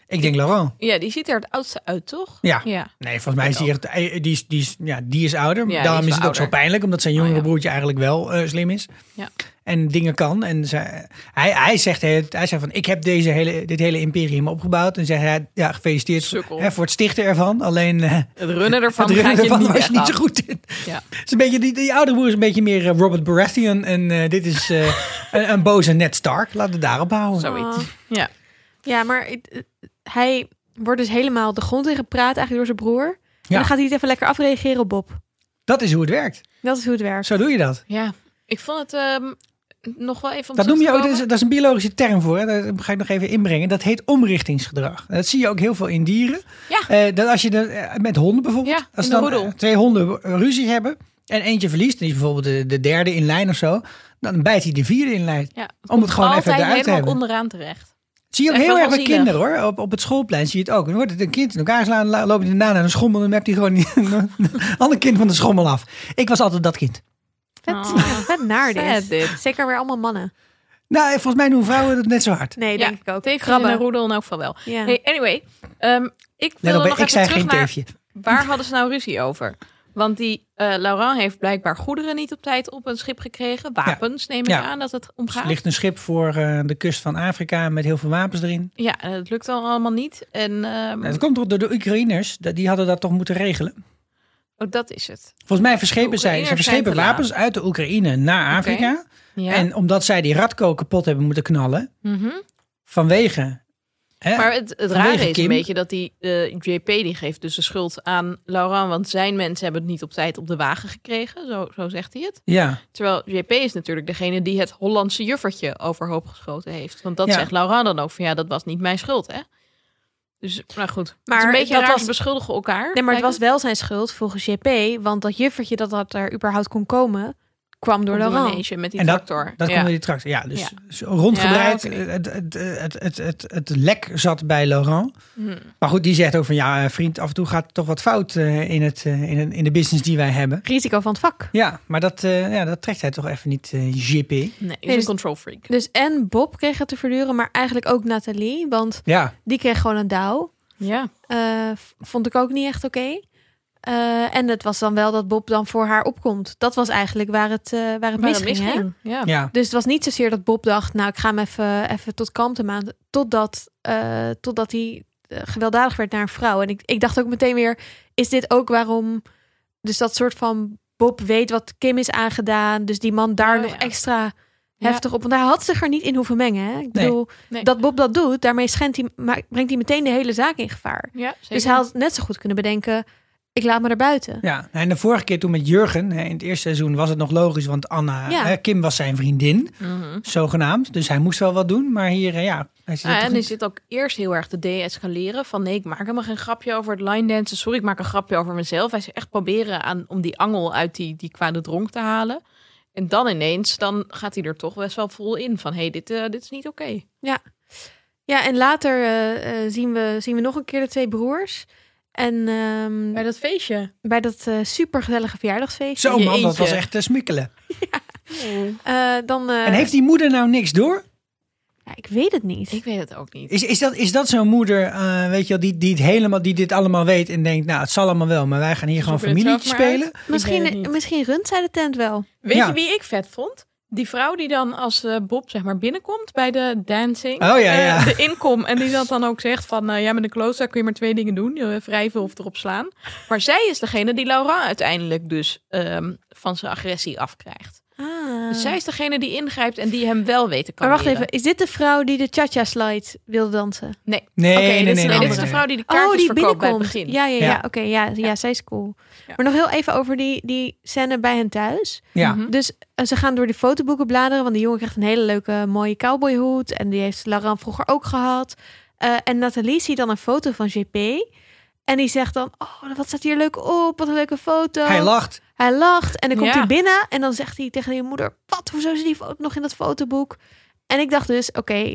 Speaker 1: Ik denk Laurent.
Speaker 3: Ja, die ziet er het oudste uit, toch?
Speaker 1: Ja.
Speaker 3: Ja.
Speaker 1: Nee, volgens mij is die, echt, eh, die, is, die, is, ja, die is ouder.
Speaker 3: Ja, die
Speaker 1: Daarom
Speaker 3: is
Speaker 1: is,
Speaker 3: wel
Speaker 1: het ook zo
Speaker 3: ouder.
Speaker 1: pijnlijk, omdat zijn jongere
Speaker 3: Oh, ja.
Speaker 1: broertje eigenlijk wel eh, slim is.
Speaker 3: Ja.
Speaker 1: En dingen kan. En ze- hij, hij, zegt, het- hij zegt van, ik heb deze hele, dit hele imperium opgebouwd. En zegt hij, ja, gefeliciteerd
Speaker 3: Sukkel.
Speaker 1: hè, voor het stichten ervan. Alleen eh,
Speaker 3: Het runnen ervan
Speaker 1: het runnen
Speaker 3: gaat je
Speaker 1: ervan
Speaker 3: niet,
Speaker 1: was je
Speaker 3: echt
Speaker 1: niet
Speaker 3: af.
Speaker 1: zo goed in.
Speaker 3: Ja.
Speaker 1: Het is een beetje, die, die oudere broer is een beetje meer eh, Robert Baratheon. En eh, dit is
Speaker 3: <laughs>
Speaker 1: eh, een, een boze Ned Stark. Laten we daarop houden.
Speaker 3: Zoiets.
Speaker 2: Oh.
Speaker 3: Ja.
Speaker 2: Ja, maar het- het- hij wordt dus helemaal de grond in gepraat eigenlijk door zijn broer. En dan gaat hij het even lekker afreageren op Bob.
Speaker 1: Dat is hoe het werkt.
Speaker 2: Dat is hoe het werkt.
Speaker 1: Zo doe je dat.
Speaker 3: Ja, ik vond het ehm, nog wel even om
Speaker 1: Dat noem
Speaker 3: terug
Speaker 1: je
Speaker 3: te
Speaker 1: ook, dat is,
Speaker 3: komen.
Speaker 1: dat is een biologische term voor, hè? dat ga ik nog even inbrengen. Dat heet omrichtingsgedrag. Dat zie je ook heel veel in dieren.
Speaker 3: Ja.
Speaker 1: Eh, dat als je de, eh, met honden bijvoorbeeld,
Speaker 3: Ja,
Speaker 1: als
Speaker 3: in de
Speaker 1: dan
Speaker 3: roedel.
Speaker 1: eh, twee honden eh, ruzie hebben en eentje verliest, en die is bijvoorbeeld de, de derde in lijn of zo, dan bijt hij de vierde in lijn.
Speaker 3: Ja,
Speaker 1: Om het gewoon
Speaker 3: altijd
Speaker 1: even eruit te
Speaker 3: helemaal
Speaker 1: hebben.
Speaker 3: onderaan terecht.
Speaker 1: Zie je ook
Speaker 3: Echt
Speaker 1: heel
Speaker 3: wel
Speaker 1: erg bij
Speaker 3: zielig.
Speaker 1: kinderen hoor. Op, op het schoolplein zie je het ook. Dan wordt het een kind in elkaar slaan, la- loopt hij daarna naar een schommel en dan hebt hij gewoon <laughs> een ander kind van de schommel af. Ik was altijd dat kind.
Speaker 2: Vet,
Speaker 3: Ah.
Speaker 2: <laughs> vet naar
Speaker 3: Sad
Speaker 2: dit.
Speaker 3: dit.
Speaker 2: Zeker weer allemaal mannen.
Speaker 1: Nou, eh, volgens mij doen vrouwen dat net zo hard.
Speaker 2: Nee,
Speaker 3: Ja,
Speaker 2: denk ik ook.
Speaker 3: Teefjes
Speaker 2: Krabben.
Speaker 3: en een roedel in elk geval wel.
Speaker 2: Ja.
Speaker 3: Hey, anyway, ehm, ik
Speaker 1: Let
Speaker 3: wilde
Speaker 1: op,
Speaker 3: nog
Speaker 1: hè, ik
Speaker 3: even
Speaker 1: zei
Speaker 3: terug
Speaker 1: geen
Speaker 3: naar
Speaker 1: teefje.
Speaker 3: waar hadden ze nou ruzie over? Want die eh, Laurent heeft blijkbaar goederen niet op tijd op een schip gekregen. Wapens neem ik
Speaker 1: Ja.
Speaker 3: aan dat het om
Speaker 1: Er
Speaker 3: gaat.
Speaker 1: ligt een schip voor eh, de kust van Afrika met heel veel wapens erin.
Speaker 3: Ja, en het lukt al allemaal niet. En ehm,
Speaker 1: Ja, dat komt toch door de Oekraïners. Dat- Die hadden dat toch moeten regelen.
Speaker 3: oh, dat is het.
Speaker 1: Volgens mij verschepen
Speaker 3: De
Speaker 1: zij,
Speaker 3: Oekraïners
Speaker 1: ze verschepen
Speaker 3: zijn te laat.
Speaker 1: wapens uit de Oekraïne naar Afrika.
Speaker 3: Ja.
Speaker 1: En omdat zij die Radko kapot hebben moeten knallen,
Speaker 3: Mhm.
Speaker 1: vanwege... Hè?
Speaker 3: Maar het, het
Speaker 1: Vanwege
Speaker 3: rare is
Speaker 1: Kim.
Speaker 3: een beetje dat die eh, JP die geeft dus de schuld aan Laurent. Want zijn mensen hebben het niet op tijd op de wagen gekregen. Zo, zo zegt hij het.
Speaker 1: ja,
Speaker 3: Terwijl JP is natuurlijk degene die het Hollandse juffertje overhoop geschoten heeft. Want dat
Speaker 1: Ja.
Speaker 3: zegt Laurent dan ook van ja, dat was niet mijn schuld hè. Dus nou goed. Maar
Speaker 2: Maar
Speaker 3: een beetje
Speaker 2: dat
Speaker 3: raar,
Speaker 2: was-
Speaker 3: ze beschuldigen elkaar.
Speaker 2: Nee, maar het was
Speaker 3: lijkt
Speaker 2: wel zijn schuld volgens JP. Want dat juffertje dat, dat er überhaupt kon komen, kwam door
Speaker 3: Op de
Speaker 2: Laurent.
Speaker 3: manege met die
Speaker 1: En
Speaker 3: tractor.
Speaker 1: dat
Speaker 3: ja.
Speaker 1: komt door die tractor. Ja, dus
Speaker 3: Ja.
Speaker 1: zo rondgebreid.
Speaker 3: Ja, oké.
Speaker 1: het, het, het, het, het, het lek zat bij Laurent.
Speaker 3: Hmm.
Speaker 1: Maar goed, die zegt ook van ja, eh, vriend, af en toe gaat toch wat fout eh, in, het, eh, in, het- in de business die wij hebben.
Speaker 2: Risico van het vak.
Speaker 1: Ja, maar dat, eh, ja, dat trekt hij toch even niet, eh JP.
Speaker 3: Nee, is
Speaker 2: Nee,
Speaker 3: een
Speaker 2: dus-
Speaker 3: control freak.
Speaker 2: Dus en Bob kreeg het te verduren, maar eigenlijk ook Nathalie. Want
Speaker 1: Ja,
Speaker 2: die kreeg gewoon een douw.
Speaker 3: Ja.
Speaker 2: Eh, v- vond ik ook niet echt oké. Eh, en het was dan wel dat Bob dan voor haar opkomt. Dat was eigenlijk waar het, eh, waar het
Speaker 3: Waar het
Speaker 2: misging. hè?
Speaker 3: misging. Ja.
Speaker 1: ja.
Speaker 2: Dus het was niet zozeer dat Bob dacht, nou ik ga hem even, even tot kalmte maanden. Totdat, eh, totdat hij eh, gewelddadig werd naar een vrouw. En ik, ik dacht ook meteen weer, is dit ook waarom... Dus dat soort van Bob weet wat Kim is aangedaan. Dus die man daar
Speaker 3: Oh,
Speaker 2: nog
Speaker 3: ja.
Speaker 2: extra
Speaker 3: Ja.
Speaker 2: heftig op. Want hij had zich er niet in hoeven mengen. Hè? Ik bedoel,
Speaker 3: Nee.
Speaker 2: dat Bob dat doet, daarmee schendt hij, ma- brengt hij meteen de hele zaak in gevaar.
Speaker 3: Ja,
Speaker 2: Dus
Speaker 3: zeker.
Speaker 2: hij had net zo goed kunnen bedenken. ik laat me er buiten.
Speaker 1: Ja, nou, en de vorige keer toen met Jurgen, hè, in het eerste seizoen was het nog logisch, want Anna,
Speaker 2: Ja.
Speaker 1: hè, Kim was zijn vriendin,
Speaker 3: Mhm.
Speaker 1: zogenaamd. Dus hij moest wel wat doen, maar hier, eh, ja. Hij zit
Speaker 3: Ja,
Speaker 1: toch
Speaker 3: Ah, en
Speaker 1: niet-
Speaker 3: is zit ook eerst heel erg te deescaleren van nee, ik maak helemaal geen grapje over het line dansen. Sorry, ik maak een grapje over mezelf. Hij is echt proberen aan, om die angel uit die, die kwade dronk te halen. En dan ineens, dan gaat hij er toch best wel vol in van hey, dit, eh, dit is niet oké.
Speaker 2: Ja, en later eh, eh, zien, we, zien we nog een keer de twee broers. En ehm,
Speaker 3: dat feestje.
Speaker 2: bij dat eh, supergezellige verjaardagsfeestje.
Speaker 1: Zo man, dat
Speaker 3: Jeetje.
Speaker 1: was echt te smikkelen.
Speaker 2: eh, dan, eh,
Speaker 1: En heeft die moeder nou niks door?
Speaker 2: ja, ik weet het niet.
Speaker 3: Ik weet het ook niet.
Speaker 1: Is, is dat, is dat zo'n moeder, eh, weet je wel, die, die, het helemaal, die dit allemaal weet en denkt, nou, het zal allemaal wel, maar wij gaan hier gewoon
Speaker 3: Zoeken het
Speaker 1: familie
Speaker 3: zelf maar uit.
Speaker 1: spelen?
Speaker 3: weet het
Speaker 2: misschien,
Speaker 3: niet.
Speaker 2: misschien runt zij de tent wel.
Speaker 3: Weet
Speaker 1: Ja.
Speaker 3: je wie ik vet vond? Die vrouw die dan als eh, Bob zeg maar binnenkomt bij de dancing.
Speaker 1: Oh, ja,
Speaker 3: eh,
Speaker 1: ja.
Speaker 3: de inkom. En die dat dan ook zegt van... eh, ja, met een klootzak kun je maar twee dingen doen. eh, wrijven of erop slaan. Maar zij is degene die Laurent uiteindelijk dus... ehm, van zijn agressie afkrijgt.
Speaker 2: Ah.
Speaker 3: Dus zij is degene die ingrijpt en die hem wel weet te
Speaker 2: maar
Speaker 3: kalmeren.
Speaker 2: wacht even, is dit de vrouw die de cha-cha slide wilde dansen?
Speaker 3: Nee,
Speaker 1: Nee,
Speaker 3: Oké,
Speaker 1: nee,
Speaker 3: dit, is-
Speaker 1: nee,
Speaker 3: nee,
Speaker 1: nee,
Speaker 3: dit is
Speaker 1: nee,
Speaker 3: de
Speaker 1: nee.
Speaker 3: vrouw die de
Speaker 2: Oh,
Speaker 3: kaartjes verkoopt bij het begin.
Speaker 2: Ja, ja, ja.
Speaker 1: Ja.
Speaker 2: Oké, ja, ja, zij is cool.
Speaker 3: Ja.
Speaker 2: Maar nog heel even over die, die scène bij hen thuis.
Speaker 1: Ja.
Speaker 3: Mhm.
Speaker 2: Dus eh, ze gaan door die fotoboeken bladeren. Want die jongen krijgt een hele leuke mooie cowboyhoed. En die heeft Laurent vroeger ook gehad. Eh, en Nathalie ziet dan een foto van JP. En die zegt dan, oh, wat staat hier leuk op. Wat een leuke foto.
Speaker 1: Hij lacht.
Speaker 2: Hij lacht. En dan komt
Speaker 3: Ja.
Speaker 2: hij binnen. En dan zegt hij tegen je moeder, wat, hoezo is die foto nog in dat fotoboek? En ik dacht dus, oké, er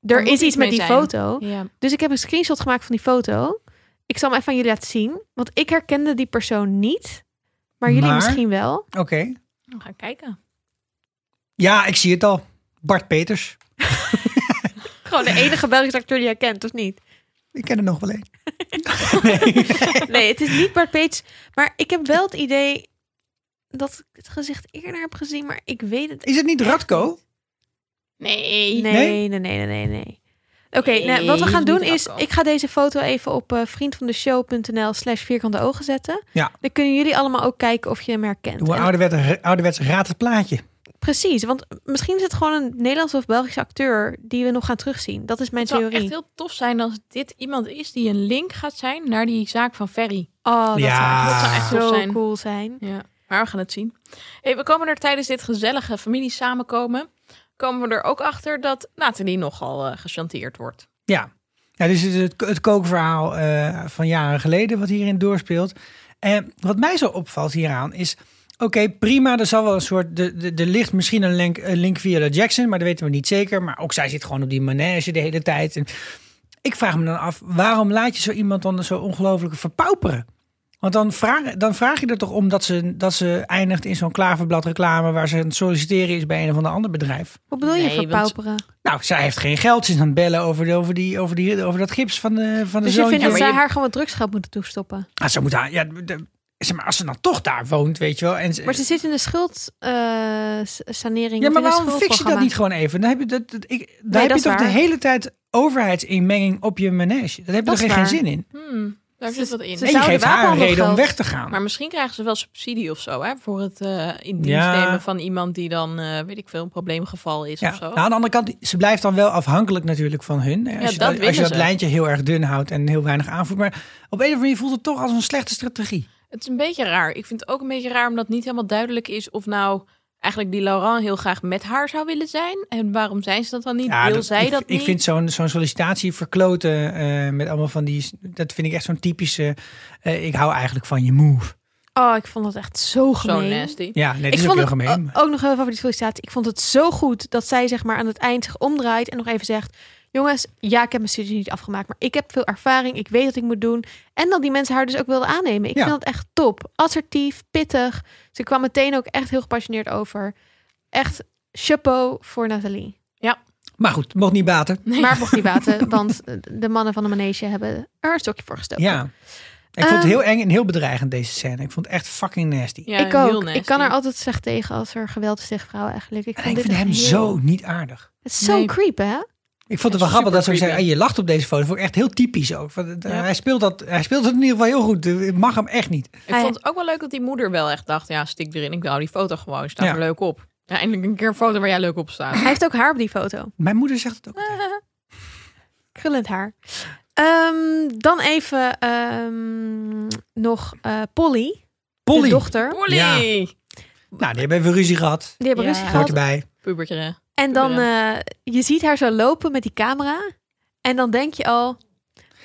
Speaker 3: moet
Speaker 2: is
Speaker 3: iets
Speaker 2: iets met
Speaker 3: mee
Speaker 2: die
Speaker 3: zijn.
Speaker 2: foto.
Speaker 3: Ja.
Speaker 2: Dus ik heb een screenshot gemaakt van die foto. Ik zal hem even aan jullie laten zien. Want ik herkende die persoon niet. Maar jullie
Speaker 1: Maar?
Speaker 2: misschien wel.
Speaker 1: Oké.
Speaker 3: We gaan kijken.
Speaker 1: Ja, ik zie het al. Bart Peters.
Speaker 2: Gewoon de enige Belgische acteur die jij kent, of niet?
Speaker 1: Ik ken er nog wel <laughs> een.
Speaker 2: Nee, het is niet Bart Peets. Maar ik heb wel het idee dat ik het gezicht eerder heb gezien. Maar ik weet het
Speaker 1: Is het niet Radko?
Speaker 3: Nee.
Speaker 2: Nee, nee, nee, nee, nee. nee. Oké, nou, wat we
Speaker 3: Nee,
Speaker 2: gaan
Speaker 3: niet
Speaker 2: doen is,
Speaker 3: Akko.
Speaker 2: ik ga deze foto even op eh vriendvandeshow.nl slash vierkante ogen zetten.
Speaker 1: Ja.
Speaker 2: Dan kunnen jullie allemaal ook kijken of je hem herkent.
Speaker 1: Doe een
Speaker 2: En-
Speaker 1: ouderwets, ouderwets raad het plaatje.
Speaker 2: Precies, want misschien is het gewoon een Nederlandse of Belgische acteur die we nog gaan terugzien. Dat is mijn
Speaker 3: Het zou
Speaker 2: theorie.
Speaker 3: echt heel tof zijn als dit iemand is die een link gaat zijn naar die zaak van Ferry.
Speaker 2: Oh, dat
Speaker 1: Ja.
Speaker 2: zou
Speaker 1: Dat zou
Speaker 2: echt
Speaker 1: echt
Speaker 2: zo
Speaker 3: tof zijn.
Speaker 2: cool zijn.
Speaker 3: Ja, maar we gaan het zien. Hey, we komen er tijdens dit gezellige familie samenkomen. Komen we er ook achter dat Nathalie nogal eh gechanteerd wordt.
Speaker 1: Ja. ja dus het, het, het kookverhaal eh, van jaren geleden wat hierin doorspeelt. En wat mij zo opvalt hieraan is... Oké, prima, er zal wel een soort... de- de- Er ligt misschien een link, een link via de Jackson, maar dat weten we niet zeker. Maar ook zij zit gewoon op die manege de hele tijd. En ik vraag me dan af, waarom laat je zo iemand dan zo ongelooflijk verpauperen? Want dan vraag, dan vraag je er toch om dat ze, dat ze eindigt in zo'n klaverblad reclame... waar ze aan het solliciteren is bij een of ander bedrijf.
Speaker 2: Wat bedoel je
Speaker 3: Nee, want-
Speaker 2: verpauperen?
Speaker 1: Nou, zij heeft geen geld. Ze is aan het bellen over, de, over, die, over, die, over dat gips van de, van de
Speaker 2: Dus je
Speaker 1: zoontje.
Speaker 2: vindt dat
Speaker 3: maar
Speaker 2: zij
Speaker 3: je-
Speaker 2: haar gewoon drugs gaat moeten toestoppen.
Speaker 1: Ah, ze moet haar, ja, de- zeg maar, als ze dan toch daar woont, weet je wel. En ze-
Speaker 2: Maar ze zit in de eh, schuldsanering.
Speaker 1: ja, maar waarom fix je dat niet gewoon even? Dan heb je, dat, dat- ik, daar heb
Speaker 2: dat
Speaker 1: je
Speaker 2: is
Speaker 1: toch de
Speaker 2: waar.
Speaker 1: hele tijd overheidsinmenging op je manege. Daar heb je
Speaker 2: Dat
Speaker 1: toch
Speaker 2: is
Speaker 1: geen
Speaker 2: waar.
Speaker 1: zin in?
Speaker 3: Hmm, daar zit wat in.
Speaker 2: ze
Speaker 1: En je
Speaker 2: zouden
Speaker 1: geeft haar een
Speaker 2: wapenhandel
Speaker 1: reden om
Speaker 2: geld.
Speaker 1: weg te gaan.
Speaker 3: Maar misschien krijgen ze wel subsidie of zo, hè? Voor het eh, in dienst
Speaker 1: Ja.
Speaker 3: nemen van iemand die dan, eh, weet ik veel, een probleemgeval is
Speaker 1: ja.
Speaker 3: of zo.
Speaker 1: Nou, aan de andere kant, ze blijft dan wel afhankelijk natuurlijk van hun. Als je
Speaker 3: dat
Speaker 1: dat, als
Speaker 3: willen
Speaker 1: je dat
Speaker 3: ze.
Speaker 1: lijntje heel erg dun houdt en heel weinig aanvoert. Maar op een of andere manier voelt het toch als een slechte strategie.
Speaker 3: Het is een beetje raar. Ik vind het ook een beetje raar omdat niet helemaal duidelijk is of nou eigenlijk die Laurent heel graag met haar zou willen zijn. En waarom zijn ze dat dan niet? Wil
Speaker 1: dat-
Speaker 3: zij
Speaker 1: ik,
Speaker 3: dat
Speaker 1: ik
Speaker 3: niet?
Speaker 1: vind zo'n zo'n sollicitatie verkloten eh, met allemaal van die... Dat vind ik echt zo'n typische... eh, ik hou eigenlijk van je move.
Speaker 2: Oh, ik vond dat echt zo
Speaker 3: zo
Speaker 2: gemeen.
Speaker 3: nasty.
Speaker 1: Ja, nee, dat
Speaker 2: ik
Speaker 1: is ook
Speaker 2: vond
Speaker 1: heel
Speaker 2: het oh.
Speaker 1: gemeen.
Speaker 2: o- ook nog heel even over die sollicitatie. Ik vond het zo goed dat zij zeg maar aan het eind zich omdraait en nog even zegt... Jongens, ja, ik heb mijn studie niet afgemaakt, maar ik heb veel ervaring. Ik weet wat ik moet doen. En dat die mensen haar dus ook wilden aannemen. Ik
Speaker 1: Ja.
Speaker 2: vind dat echt top. Assertief, pittig. Ze kwam meteen ook echt heel gepassioneerd over. Echt chapeau voor Nathalie.
Speaker 1: Maar goed, mocht niet baten.
Speaker 2: Maar mocht die baten, want eh, de mannen van de manege hebben er een stokje voor gestoken.
Speaker 1: Ja. Ik vond het heel eng en heel bedreigend deze scène. Ik vond het echt fucking nasty.
Speaker 3: Ja,
Speaker 2: ik
Speaker 3: heel
Speaker 2: ook.
Speaker 3: nasty.
Speaker 2: Ik kan er altijd slecht tegen als er geweld is tegen vrouwen eigenlijk. Ik,
Speaker 1: En
Speaker 2: vond
Speaker 1: ik
Speaker 2: dit
Speaker 1: vind hem
Speaker 2: echt heel-
Speaker 1: zo niet aardig.
Speaker 2: Het is zo'n
Speaker 3: Nee.
Speaker 2: creep, hè?
Speaker 1: Ik vond het
Speaker 3: Echt
Speaker 1: wel grappig dat ze ook
Speaker 3: super
Speaker 1: zei, ah, je lacht op deze foto. Vond ik echt heel typisch ook. Van, eh,
Speaker 3: Ja.
Speaker 1: hij, speelt dat, hij speelt dat in ieder geval heel goed. Ik mag hem echt niet.
Speaker 3: Ik vond het ook wel leuk dat die moeder wel echt dacht, ja, stik erin. Ik hou die foto gewoon, staat
Speaker 1: Ja.
Speaker 3: er leuk op. Ja, eindelijk een keer een foto waar jij leuk op staat.
Speaker 2: Hij heeft ook haar op die foto.
Speaker 1: Mijn moeder zegt het ook. altijd.
Speaker 2: <laughs> Krullend haar. Ehm, dan even ehm, nog eh, Polly,
Speaker 1: Polly.
Speaker 2: de dochter.
Speaker 3: Polly!
Speaker 1: Ja. Nou, die hebben even ruzie gehad.
Speaker 2: Die hebben
Speaker 3: Ja.
Speaker 2: ruzie
Speaker 1: Hoort
Speaker 2: gehad.
Speaker 1: erbij.
Speaker 3: Pubertje. hè?
Speaker 2: En dan, eh, je ziet haar zo lopen met die camera. En dan denk je al,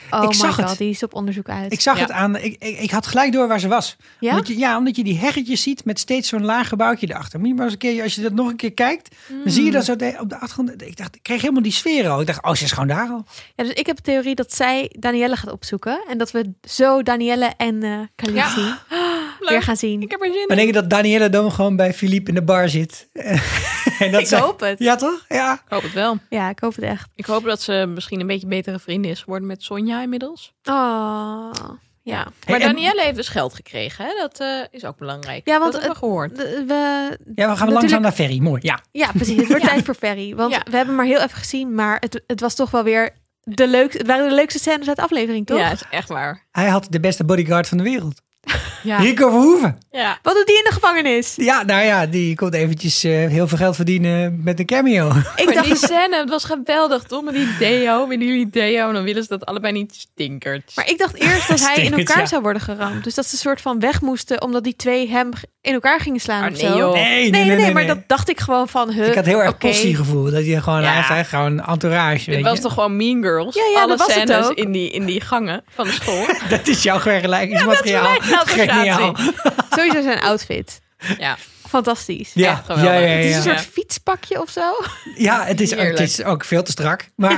Speaker 2: oh
Speaker 1: Ik
Speaker 2: my
Speaker 1: zag
Speaker 2: god,
Speaker 1: het.
Speaker 2: die is op onderzoek uit.
Speaker 1: Ik zag
Speaker 3: Ja.
Speaker 1: het aan. Ik, ik, ik had gelijk door waar ze was.
Speaker 2: ja?
Speaker 1: Omdat je, ja, omdat je die heggetjes ziet met steeds zo'n laag gebouwtje erachter. Moet je maar eens een keer, als je dat nog een keer kijkt, dan zie je
Speaker 2: Hmm.
Speaker 1: dat zo de- op de achtergrond. Ik dacht, ik kreeg helemaal die sfeer al. Ik dacht, oh, ze is gewoon daar al.
Speaker 2: ja, dus ik heb de theorie dat zij Danielle gaat opzoeken. En dat we zo Danielle en eh Khaleesi weer
Speaker 3: Leuk.
Speaker 2: gaan zien.
Speaker 3: Ik heb er zin
Speaker 1: Maar
Speaker 3: in.
Speaker 1: denk je dat Danielle dan gewoon bij Philippe in de bar zit? <laughs> en dat
Speaker 2: Ik
Speaker 1: zij-
Speaker 2: hoop het.
Speaker 1: Ja, toch? Ja.
Speaker 3: Ik hoop het wel.
Speaker 2: Ja, ik hoop het echt.
Speaker 3: Ik hoop dat ze misschien een beetje betere vrienden is geworden met Sonja inmiddels.
Speaker 2: Oh, ja.
Speaker 1: en-
Speaker 3: Maar Danielle heeft dus geld gekregen. Hè? Dat eh, is ook belangrijk.
Speaker 2: Ja, want
Speaker 3: dat hebben we
Speaker 2: De-
Speaker 3: gehoord.
Speaker 2: we,
Speaker 1: Ja, we gaan langzaam naar Ferry. Mooi, ja.
Speaker 2: ja, precies. Het wordt tijd voor Ferry. Want
Speaker 3: Ja.
Speaker 2: we hebben maar heel even gezien. Maar het, het was toch wel weer de leukste. Het waren de leukste scènes uit de aflevering, toch?
Speaker 3: Ja, is echt waar.
Speaker 1: Hij had de beste bodyguard van de wereld.
Speaker 3: Ja.
Speaker 1: Rico Verhoeven.
Speaker 3: ja.
Speaker 2: Wat doet die in de gevangenis?
Speaker 1: Ja, nou ja, die komt eventjes eh, heel veel geld verdienen met een cameo.
Speaker 2: Ik
Speaker 3: maar
Speaker 2: dacht,
Speaker 3: die scène, het was geweldig, toch? Met die deo, met jullie deo. En dan willen ze dat allebei niet stinkert.
Speaker 2: maar ik dacht eerst dat hij in
Speaker 1: Stinkt,
Speaker 2: elkaar
Speaker 1: ja.
Speaker 2: zou worden geramd. Dus dat ze een soort van weg moesten, omdat die twee hem g- in elkaar gingen slaan.
Speaker 3: Ah,
Speaker 2: of
Speaker 3: nee,
Speaker 2: zo.
Speaker 1: <laughs>
Speaker 3: joh.
Speaker 1: Nee,
Speaker 2: Nee, nee, nee, maar dat dacht ik gewoon van huh,
Speaker 1: Ik had heel erg
Speaker 2: oké.
Speaker 1: postiegevoel. Dat je gewoon,
Speaker 3: Ja.
Speaker 1: hij heeft eigenlijk gewoon een entourage.
Speaker 3: Dit
Speaker 1: weet
Speaker 3: was
Speaker 1: je.
Speaker 3: toch gewoon Mean Girls?
Speaker 2: Ja, ja,
Speaker 3: Alle
Speaker 2: dat was het
Speaker 3: scènes
Speaker 2: ook.
Speaker 3: in die, in die gangen van de
Speaker 2: <laughs>
Speaker 3: school.
Speaker 1: Dat is jouw vergelijkingsmateriaal.
Speaker 3: <laughs> dat is mijn
Speaker 1: Geniaal.
Speaker 2: Sowieso zijn outfit.
Speaker 3: ja.
Speaker 2: Fantastisch.
Speaker 1: Ja,
Speaker 3: Echt
Speaker 1: ja,
Speaker 3: geweldig.
Speaker 1: ja, ja,
Speaker 2: Het is
Speaker 1: ja.
Speaker 2: een soort
Speaker 3: Ja.
Speaker 2: fietspakje of zo.
Speaker 1: Ja, het is, ook, het
Speaker 3: Heerlijk.
Speaker 1: is ook veel te strak. Maar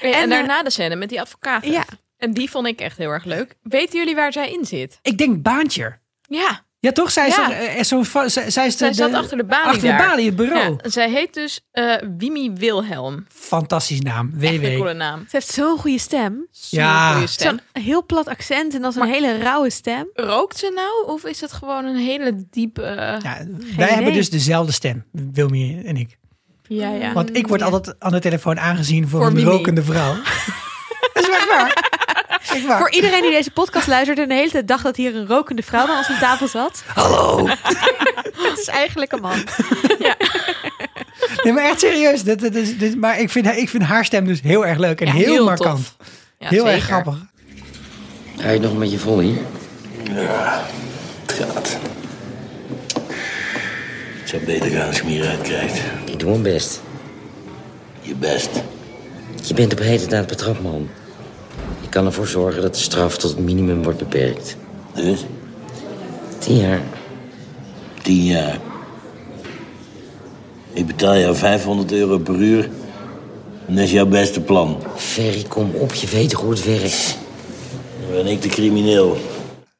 Speaker 3: En,
Speaker 2: En, eh,
Speaker 3: daarna de scène met die advocaten.
Speaker 2: Ja.
Speaker 3: En die vond ik echt heel erg leuk. Weten jullie waar zij in zit?
Speaker 1: ik denk baantje.
Speaker 3: Ja,
Speaker 1: Ja, toch? Zij is,
Speaker 3: Ja.
Speaker 1: toch, eh, zo'n va- zij, zij is de,
Speaker 3: zij zat
Speaker 1: de-
Speaker 3: achter de balie
Speaker 1: achter de
Speaker 3: daar.
Speaker 1: balie, het bureau.
Speaker 3: Ja, zij heet dus eh Wimi Wilhelm.
Speaker 1: Fantastisch naam.
Speaker 3: Echt een
Speaker 1: WW.
Speaker 3: coole naam.
Speaker 2: Ze heeft zo'n goede stem.
Speaker 3: Zo'n
Speaker 1: Ja.
Speaker 3: goede stem.
Speaker 2: Zo'n heel plat accent en dan zo'n
Speaker 3: Maar-
Speaker 2: hele rauwe stem.
Speaker 3: Rookt ze nou? Of is het gewoon een hele diepe... eh,
Speaker 1: Ja, wij
Speaker 2: idee.
Speaker 1: hebben dus dezelfde stem, Wilmi en ik.
Speaker 3: Ja, Mm, ja.
Speaker 1: Want ik word
Speaker 2: Ja.
Speaker 1: altijd aan de telefoon aangezien voor,
Speaker 3: Voor
Speaker 1: een
Speaker 3: Mimi.
Speaker 1: rokende
Speaker 3: <laughs>
Speaker 1: vrouw. dat is echt waar. Echt waar.
Speaker 2: Voor iedereen die deze podcast luistert en de hele tijd dacht dat hier een rokende vrouw bij ons aan tafel zat.
Speaker 1: Hallo.
Speaker 2: Het is eigenlijk een man.
Speaker 1: Nee, maar echt serieus. Dit, dit is, dit, maar ik vind, ik vind haar stem dus heel erg leuk en
Speaker 3: Ja,
Speaker 1: heel,
Speaker 3: heel
Speaker 1: markant.
Speaker 3: tof. Ja,
Speaker 1: heel erg
Speaker 3: zeker.
Speaker 1: grappig.
Speaker 4: Hij nog een beetje vol hier.
Speaker 5: Ja, het gaat. Het zou beter gaan als je hem hieruit krijgt.
Speaker 4: Ik doe mijn best.
Speaker 5: Je best.
Speaker 4: Je bent op heterdaad betrapt, man. Ik kan ervoor zorgen dat de straf tot het minimum wordt beperkt.
Speaker 5: Dus,
Speaker 4: Tien jaar.
Speaker 5: tien jaar. Ik betaal jou 500 euro per uur. En dat is jouw beste plan.
Speaker 4: Ferry, kom op. Je weet toch hoe het werkt.
Speaker 5: Dan ben ik de crimineel.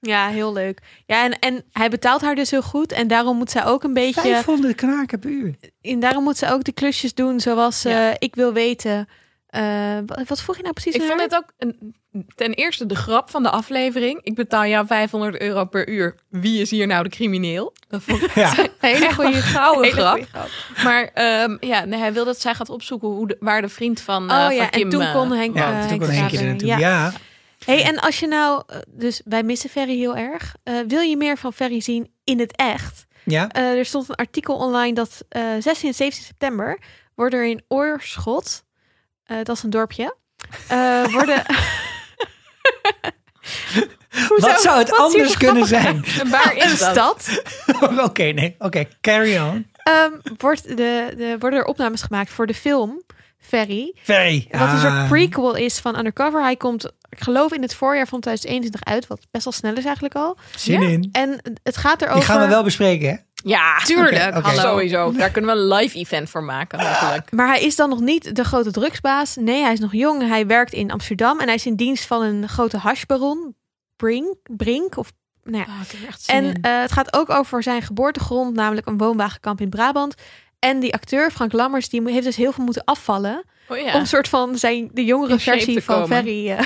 Speaker 2: Ja, heel leuk. Ja, en, en hij betaalt haar dus heel goed. En daarom moet zij ook een
Speaker 3: eh,
Speaker 2: beetje.
Speaker 1: 500 knaken per uur.
Speaker 2: En daarom moet ze ook de klusjes doen zoals
Speaker 3: Ja.
Speaker 2: eh, ik wil weten. eh, wat, wat vroeg je nou precies?
Speaker 3: Ik
Speaker 2: naar
Speaker 3: vond
Speaker 2: haar?
Speaker 3: het ook een, ten eerste de grap van de aflevering. Ik betaal jou 500 euro per uur. Wie is hier nou de crimineel? Dat vond ik
Speaker 1: Ja.
Speaker 2: een <laughs> hele
Speaker 3: echt een
Speaker 2: goede
Speaker 3: gouden
Speaker 2: hele
Speaker 3: grap.
Speaker 2: goeie grap.
Speaker 3: Maar ehm, ja, nee, hij wil dat zij gaat opzoeken hoe de, waar de vriend van, eh
Speaker 2: Oh ja,
Speaker 3: van Kim...
Speaker 2: en toen
Speaker 3: eh,
Speaker 2: kon Henk.
Speaker 1: Ja,
Speaker 2: eh,
Speaker 1: toen kon Henkje er
Speaker 2: Kramer,
Speaker 1: naartoe.
Speaker 2: ja.
Speaker 1: ja.
Speaker 2: Hey, en als je nou, eh, dus wij missen Ferry heel erg. Eh, wil je meer van Ferry zien in het echt?
Speaker 3: <laughs>
Speaker 1: Ja,
Speaker 2: Eh, er stond een artikel online dat eh 16 en 17 september wordt er in Oorschot, eh, dat is een dorpje,
Speaker 1: <laughs>
Speaker 2: eh, worden. Hoezo?
Speaker 1: wat zou het
Speaker 2: Wat is hier
Speaker 1: anders
Speaker 2: zo
Speaker 1: kunnen
Speaker 2: grappig
Speaker 1: zijn?
Speaker 3: En waar
Speaker 2: aan? <laughs> Een
Speaker 3: is dat?
Speaker 2: stad.
Speaker 1: <laughs> Oké, nee. Oké, carry on.
Speaker 2: Ehm, wordt de, de, worden er opnames gemaakt voor de film Ferry?
Speaker 1: Ferry.
Speaker 2: Wat een soort
Speaker 1: Ah.
Speaker 2: prequel is van Undercover. Hij komt, ik geloof, in het voorjaar van 2021 uit, wat best wel snel is eigenlijk al.
Speaker 1: Zin in.
Speaker 2: En het gaat erover.
Speaker 1: Die gaan we wel bespreken, hè?
Speaker 3: Ja,
Speaker 1: Tuurlijk, Oké, oké. hallo.
Speaker 3: Sowieso. Daar kunnen we een live event voor maken,
Speaker 2: Ah,
Speaker 3: hopelijk.
Speaker 2: Maar hij is dan nog niet de grote drugsbaas. Nee, hij is nog jong. Hij werkt in Amsterdam en hij is in dienst van een grote hashbaron, Brink, Brink of nou ja. En eh, het gaat ook over zijn geboortegrond, namelijk een woonwagenkamp in Brabant. En die acteur Frank Lammers, die mo- heeft dus heel veel moeten afvallen
Speaker 3: oh, ja.
Speaker 2: om een soort van zijn de jongere
Speaker 3: In shape
Speaker 2: versie
Speaker 3: te
Speaker 2: van
Speaker 3: komen.
Speaker 2: Ferry. eh,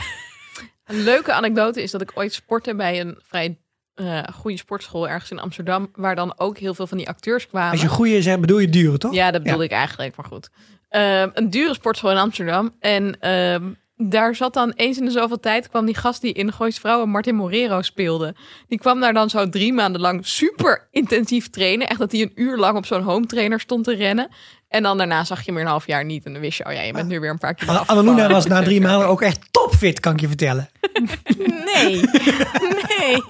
Speaker 3: Een leuke anekdote is dat ik ooit sportte bij een vrij eh, goede sportschool ergens in Amsterdam, waar dan ook heel veel van die acteurs kwamen.
Speaker 1: Als je goeie zegt, bedoel je duren, toch?
Speaker 3: Ja, dat bedoelde ik eigenlijk, maar goed. Ehm, een dure sportschool in Amsterdam. En ehm, daar zat dan eens in de zoveel tijd kwam die gast die in Goois Vrouwen Martin Morero speelde. Die kwam daar dan zo drie maanden lang super intensief trainen. Echt dat hij een uur lang op zo'n home trainer stond te rennen. En dan daarna zag je hem weer een half jaar niet. En dan wist je, oh ja, je bent nu weer een paar keer.
Speaker 1: Anna- Annalena Ah. was na drie maanden ook echt topfit, kan ik je vertellen.
Speaker 3: Nee.
Speaker 2: Nee.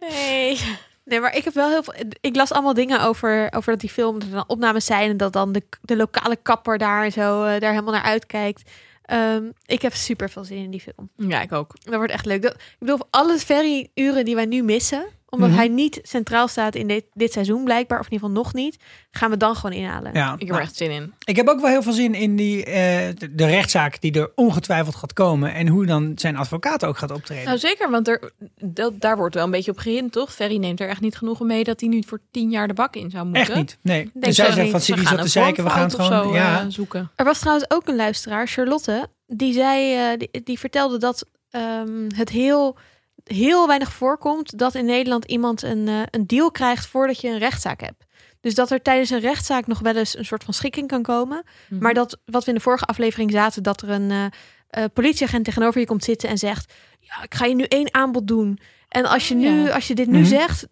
Speaker 2: Nee. Nee, maar ik heb wel heel veel. Ik las allemaal dingen over, over dat die film dat er dan opnames zijn en dat dan de, de lokale kapper daar en zo eh, daar helemaal naar uitkijkt. Ehm, ik heb super veel zin in die film.
Speaker 3: <laughs> Ja, ik ook.
Speaker 2: Dat wordt echt leuk. Dat, ik bedoel, alle ferryuren die wij nu missen, omdat
Speaker 1: Mhm.
Speaker 2: hij niet centraal staat in dit, dit seizoen blijkbaar, of in ieder geval nog niet, gaan we dan gewoon inhalen.
Speaker 1: Ja,
Speaker 3: Ik heb
Speaker 1: nou,
Speaker 3: er echt zin in.
Speaker 1: ik heb ook wel heel veel zin in die, eh, de, de rechtszaak die er ongetwijfeld gaat komen. En hoe dan zijn advocaat ook gaat optreden.
Speaker 3: Nou zeker, want er, dat, daar wordt wel een beetje op gehind, toch? Ferry neemt er echt niet genoegen mee dat hij nu voor tien jaar de bak in zou moeten.
Speaker 1: echt niet. Nee.
Speaker 3: Denk
Speaker 1: Dus zij
Speaker 3: zo
Speaker 1: zegt
Speaker 3: niet.
Speaker 1: van
Speaker 3: Ze
Speaker 1: Siri
Speaker 3: gaan
Speaker 1: zat te
Speaker 3: een
Speaker 1: zeiken, we gaan het
Speaker 3: vormfout of
Speaker 1: gewoon.
Speaker 3: zo,
Speaker 1: ja.
Speaker 3: eh, zoeken.
Speaker 2: Er was trouwens ook een luisteraar, Charlotte, die zei, eh, die, die vertelde dat ehm, het heel, heel weinig voorkomt dat in Nederland iemand een, eh, een deal krijgt voordat je een rechtszaak hebt. Dus dat er tijdens een rechtszaak nog wel eens een soort van schikking kan komen. Maar dat wat we in de vorige aflevering zaten, dat er een eh, eh, politieagent tegenover je komt zitten en zegt: Ja, ik ga je nu één aanbod doen. En als je, nu,
Speaker 3: Ja.
Speaker 2: als je dit nu
Speaker 1: Mhm.
Speaker 2: zegt,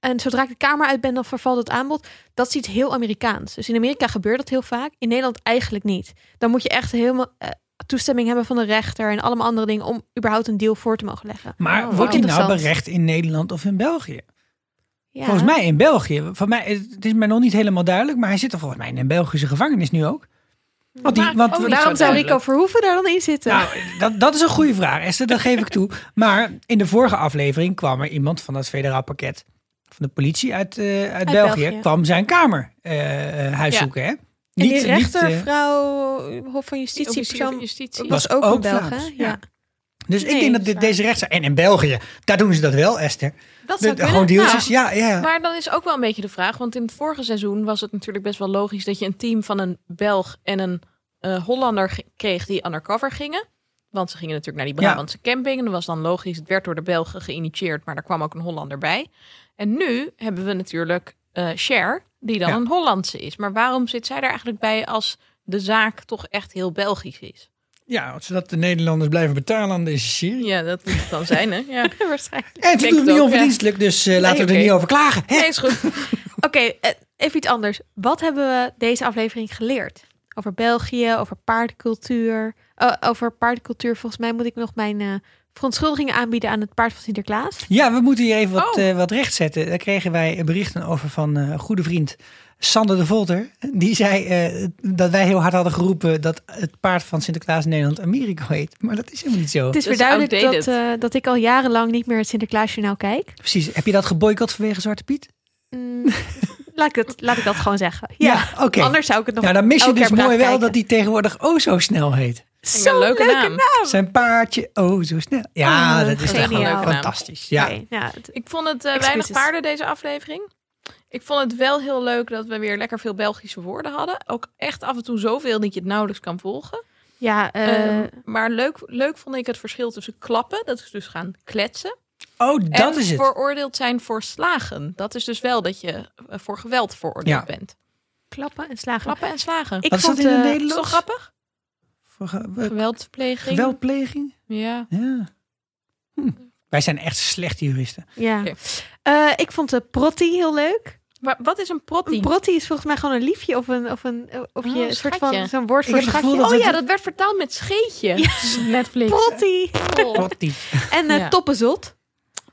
Speaker 2: en zodra ik de kamer uit ben, dan vervalt het aanbod. Dat is iets heel Amerikaans. Dus in Amerika gebeurt dat heel vaak. In Nederland eigenlijk niet. Dan moet je echt helemaal eh, toestemming hebben van de rechter en allemaal andere dingen om überhaupt een deal voor te mogen leggen.
Speaker 1: Maar
Speaker 3: Oh,
Speaker 1: wordt
Speaker 2: wauw.
Speaker 1: hij nou
Speaker 2: Interessant.
Speaker 1: berecht in Nederland of in België?
Speaker 2: Ja.
Speaker 1: Volgens mij in België. Van mij, het is mij nog niet helemaal duidelijk, maar hij zit er volgens mij in een Belgische gevangenis nu ook. Want, die,
Speaker 3: Maar
Speaker 1: want
Speaker 3: ook niet
Speaker 2: Waarom
Speaker 3: zo
Speaker 2: oh, zou
Speaker 3: duidelijk.
Speaker 2: Rico Verhoeven daar dan in zitten?
Speaker 1: Nou, dat, dat is een goede vraag, Esther, dat geef ik toe. Maar in de vorige aflevering kwam er iemand van dat federaal pakket van de politie uit, eh, uit, België,
Speaker 2: België.
Speaker 1: kwam zijn kamer eh eh, huis
Speaker 3: Ja.
Speaker 1: zoeken. Hè?
Speaker 2: en die rechter,
Speaker 1: eh,
Speaker 2: vrouw, Hof van
Speaker 3: Die
Speaker 2: Justitie,
Speaker 3: officier van
Speaker 2: persoon,
Speaker 3: justitie.
Speaker 1: was
Speaker 2: was ook,
Speaker 1: ook
Speaker 2: een Belg, hè?
Speaker 1: Vlaams,
Speaker 2: Ja.
Speaker 1: ja. dus ik
Speaker 2: Nee,
Speaker 1: denk dat
Speaker 2: dat is
Speaker 1: dit, deze rechtszaak... En in België, daar doen ze dat wel, Esther.
Speaker 3: Dat
Speaker 1: De-
Speaker 3: zou
Speaker 1: <laughs>
Speaker 3: kunnen.
Speaker 1: gewoon deeltjes,
Speaker 3: Nou,
Speaker 1: ja. ja,
Speaker 3: Maar dan is ook wel een beetje de vraag, want in het vorige seizoen was het natuurlijk best wel logisch dat je een team van een Belg en een eh, Hollander ge- kreeg die undercover gingen. Want ze gingen natuurlijk naar die
Speaker 1: Ja.
Speaker 3: Brabantse camping en dat was dan logisch. Het werd door de Belgen geïnitieerd, maar daar kwam ook een Hollander bij. En nu hebben we natuurlijk eh Cher, die dan
Speaker 1: Ja.
Speaker 3: een Hollandse is. Maar waarom zit zij er eigenlijk bij als de zaak toch echt heel Belgisch is?
Speaker 1: ja, zodat de Nederlanders blijven betalen aan deze serie.
Speaker 3: Ja, dat moet het dan zijn, hè? <laughs> Ja.
Speaker 2: Waarschijnlijk.
Speaker 1: En ze
Speaker 3: denk
Speaker 1: doen het
Speaker 3: het
Speaker 1: niet
Speaker 3: ook,
Speaker 1: onverdienstelijk, dus eh, laten we er
Speaker 3: oké.
Speaker 1: niet over klagen. Hè?
Speaker 3: Nee, is goed.
Speaker 2: Oké, eh, even iets anders. Wat hebben we deze aflevering geleerd? Over België, over paardencultuur. Eh, over paardencultuur, volgens mij moet ik nog mijn eh, verontschuldigingen aanbieden aan het paard van Sinterklaas.
Speaker 1: Ja, we moeten hier even wat,
Speaker 3: Oh.
Speaker 1: eh, wat rechtzetten. Daar kregen wij berichten over van eh, een goede vriend Sander de Volter. Die zei eh, dat wij heel hard hadden geroepen dat het paard van Sinterklaas in Nederland Americo heet. Maar dat is helemaal niet zo.
Speaker 2: Het is weer
Speaker 3: is
Speaker 2: duidelijk dat,
Speaker 3: outdated.
Speaker 2: eh, dat ik al jarenlang niet meer het Sinterklaasjournaal kijk.
Speaker 1: Precies. Heb je dat geboycott vanwege Zwarte Piet?
Speaker 2: Mm, laat, ik dat, laat ik dat gewoon zeggen. Ja,
Speaker 1: Ja, oké.
Speaker 2: anders zou ik het nog
Speaker 1: Nou, dan mis je
Speaker 2: elke
Speaker 1: dus
Speaker 2: keer
Speaker 1: mooi wel
Speaker 2: braaf kijken.
Speaker 1: dat die tegenwoordig oh zo snel heet.
Speaker 2: Zo'n leuke, naam.
Speaker 1: Zijn paardje oh zo snel. Ja,
Speaker 2: Oh,
Speaker 1: dat is
Speaker 2: geniaal.
Speaker 1: toch gewoon
Speaker 3: Leuke naam.
Speaker 1: fantastisch. Ja.
Speaker 2: Oké, nou, het-
Speaker 3: Ik vond het eh, weinig
Speaker 2: Excuses.
Speaker 3: paarden deze aflevering. Ik vond het wel heel leuk dat we weer lekker veel Belgische woorden hadden. Ook echt af en toe zoveel dat je het nauwelijks kan volgen.
Speaker 2: ja, eh,
Speaker 3: Ehm, maar leuk, leuk vond ik het verschil tussen klappen, dat is dus gaan kletsen.
Speaker 1: Oh, dat
Speaker 3: en
Speaker 1: is het.
Speaker 3: veroordeeld zijn voor slagen. Dat is dus wel dat je eh, voor geweld veroordeeld
Speaker 1: Ja.
Speaker 3: bent.
Speaker 2: klappen en slagen.
Speaker 3: Klappen en slagen.
Speaker 2: Ik
Speaker 1: Wat is dat
Speaker 2: vond,
Speaker 1: in het
Speaker 2: eh,
Speaker 3: is toch
Speaker 1: Nederlands?
Speaker 3: grappig?
Speaker 1: Voor ge- eh,
Speaker 3: Geweldpleging.
Speaker 1: Geweldpleging?
Speaker 3: Ja.
Speaker 1: Ja. Hm. Wij zijn echt slechte juristen.
Speaker 2: Ja.
Speaker 3: Oké.
Speaker 2: Eh, ik vond de Protti heel leuk.
Speaker 3: Maar wat is een protti?
Speaker 2: Een Protti is volgens mij gewoon een liefje of een, of een, of
Speaker 3: Oh,
Speaker 2: je, een soort
Speaker 3: schatje.
Speaker 2: van zo'n woord
Speaker 1: Ik
Speaker 2: voor
Speaker 1: heb het
Speaker 2: schatje.
Speaker 1: gevoel dat
Speaker 3: oh ja,
Speaker 1: het-
Speaker 3: dat werd vertaald met scheetje. Netflix.
Speaker 2: Protti.
Speaker 3: Oh,
Speaker 1: Pottie.
Speaker 2: En eh,
Speaker 3: Ja.
Speaker 2: toppenzot.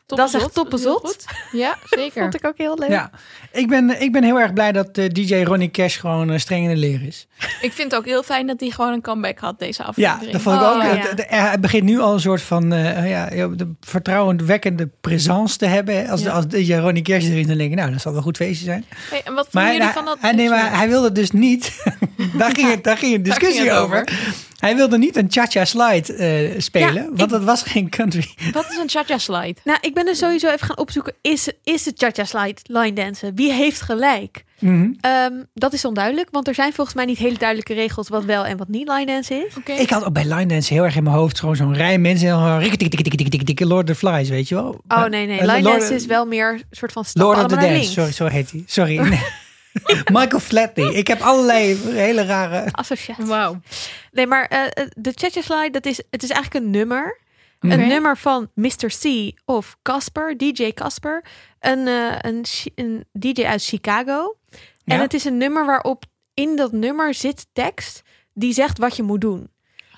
Speaker 2: Dat is echt
Speaker 3: toppenzot. is heel
Speaker 2: toppenzot.
Speaker 3: goed. Ja, zeker.
Speaker 2: <laughs> Vond ik ook heel leuk.
Speaker 1: Ja, ik ben, eh, ik ben heel erg blij dat eh, DJ Ronnie Cash gewoon eh, streng in de leer is.
Speaker 3: Ik vind het ook heel fijn dat hij gewoon een comeback had deze
Speaker 1: Ja,
Speaker 3: aflevering.
Speaker 1: dat vond ik
Speaker 2: Oh,
Speaker 1: ook. eh.
Speaker 2: ja.
Speaker 1: Het- het- hij begint nu al een soort van eh, ja, de vertrouwenwekkende présence te hebben. hè. Als,
Speaker 3: Ja.
Speaker 1: als DJ Ronnie Cash erin is, dan denk ik, nou, dat zal wel een goed feestje zijn.
Speaker 3: Hey, en wat
Speaker 1: Maar,
Speaker 3: vonden jullie
Speaker 1: hij-
Speaker 3: van dat?
Speaker 1: hij, nee, maar hij wilde dus niet. <laughs> daar, ging het, daar ging een
Speaker 3: Daar
Speaker 1: discussie
Speaker 3: ging het
Speaker 1: over.
Speaker 3: over.
Speaker 1: Hij wilde niet een cha-cha slide eh, spelen,
Speaker 2: Ja,
Speaker 1: want dat was geen country.
Speaker 3: Wat is een cha-cha slide?
Speaker 2: Nou, ik ben dus sowieso even gaan opzoeken. Is, is de cha-cha slide line dansen? Wie heeft gelijk?
Speaker 1: Mhm.
Speaker 2: Ehm, dat is onduidelijk, want er zijn volgens mij niet hele duidelijke regels wat wel en wat niet line dansen is.
Speaker 3: Oké.
Speaker 1: Ik had ook bij line dance heel erg in mijn hoofd gewoon zo'n rij mensen. En dan tik tik tik tik tik tik tik Lord of the Flies, weet je wel.
Speaker 2: Oh
Speaker 1: Maar-
Speaker 2: nee, nee.
Speaker 1: eh,
Speaker 2: Line
Speaker 1: Lord-
Speaker 2: dance is wel meer een soort van stap
Speaker 1: Lord of the
Speaker 2: allemaal naar
Speaker 1: Dance,
Speaker 2: links.
Speaker 1: sorry, zo heet hij. Sorry.
Speaker 2: <laughs>
Speaker 1: <laughs> nee. Michael Flatley. Ik heb allerlei hele rare...
Speaker 2: Associatie.
Speaker 3: Wauw.
Speaker 2: Nee, maar eh, eh, de cha-cha slide, dat is, het is eigenlijk een nummer. Een nummer van Mr. C of Casper, DJ Casper. Een, eh, een, Chi- een DJ uit Chicago.
Speaker 1: Ja.
Speaker 2: En het is een nummer waarop in dat nummer zit tekst die zegt wat je moet doen.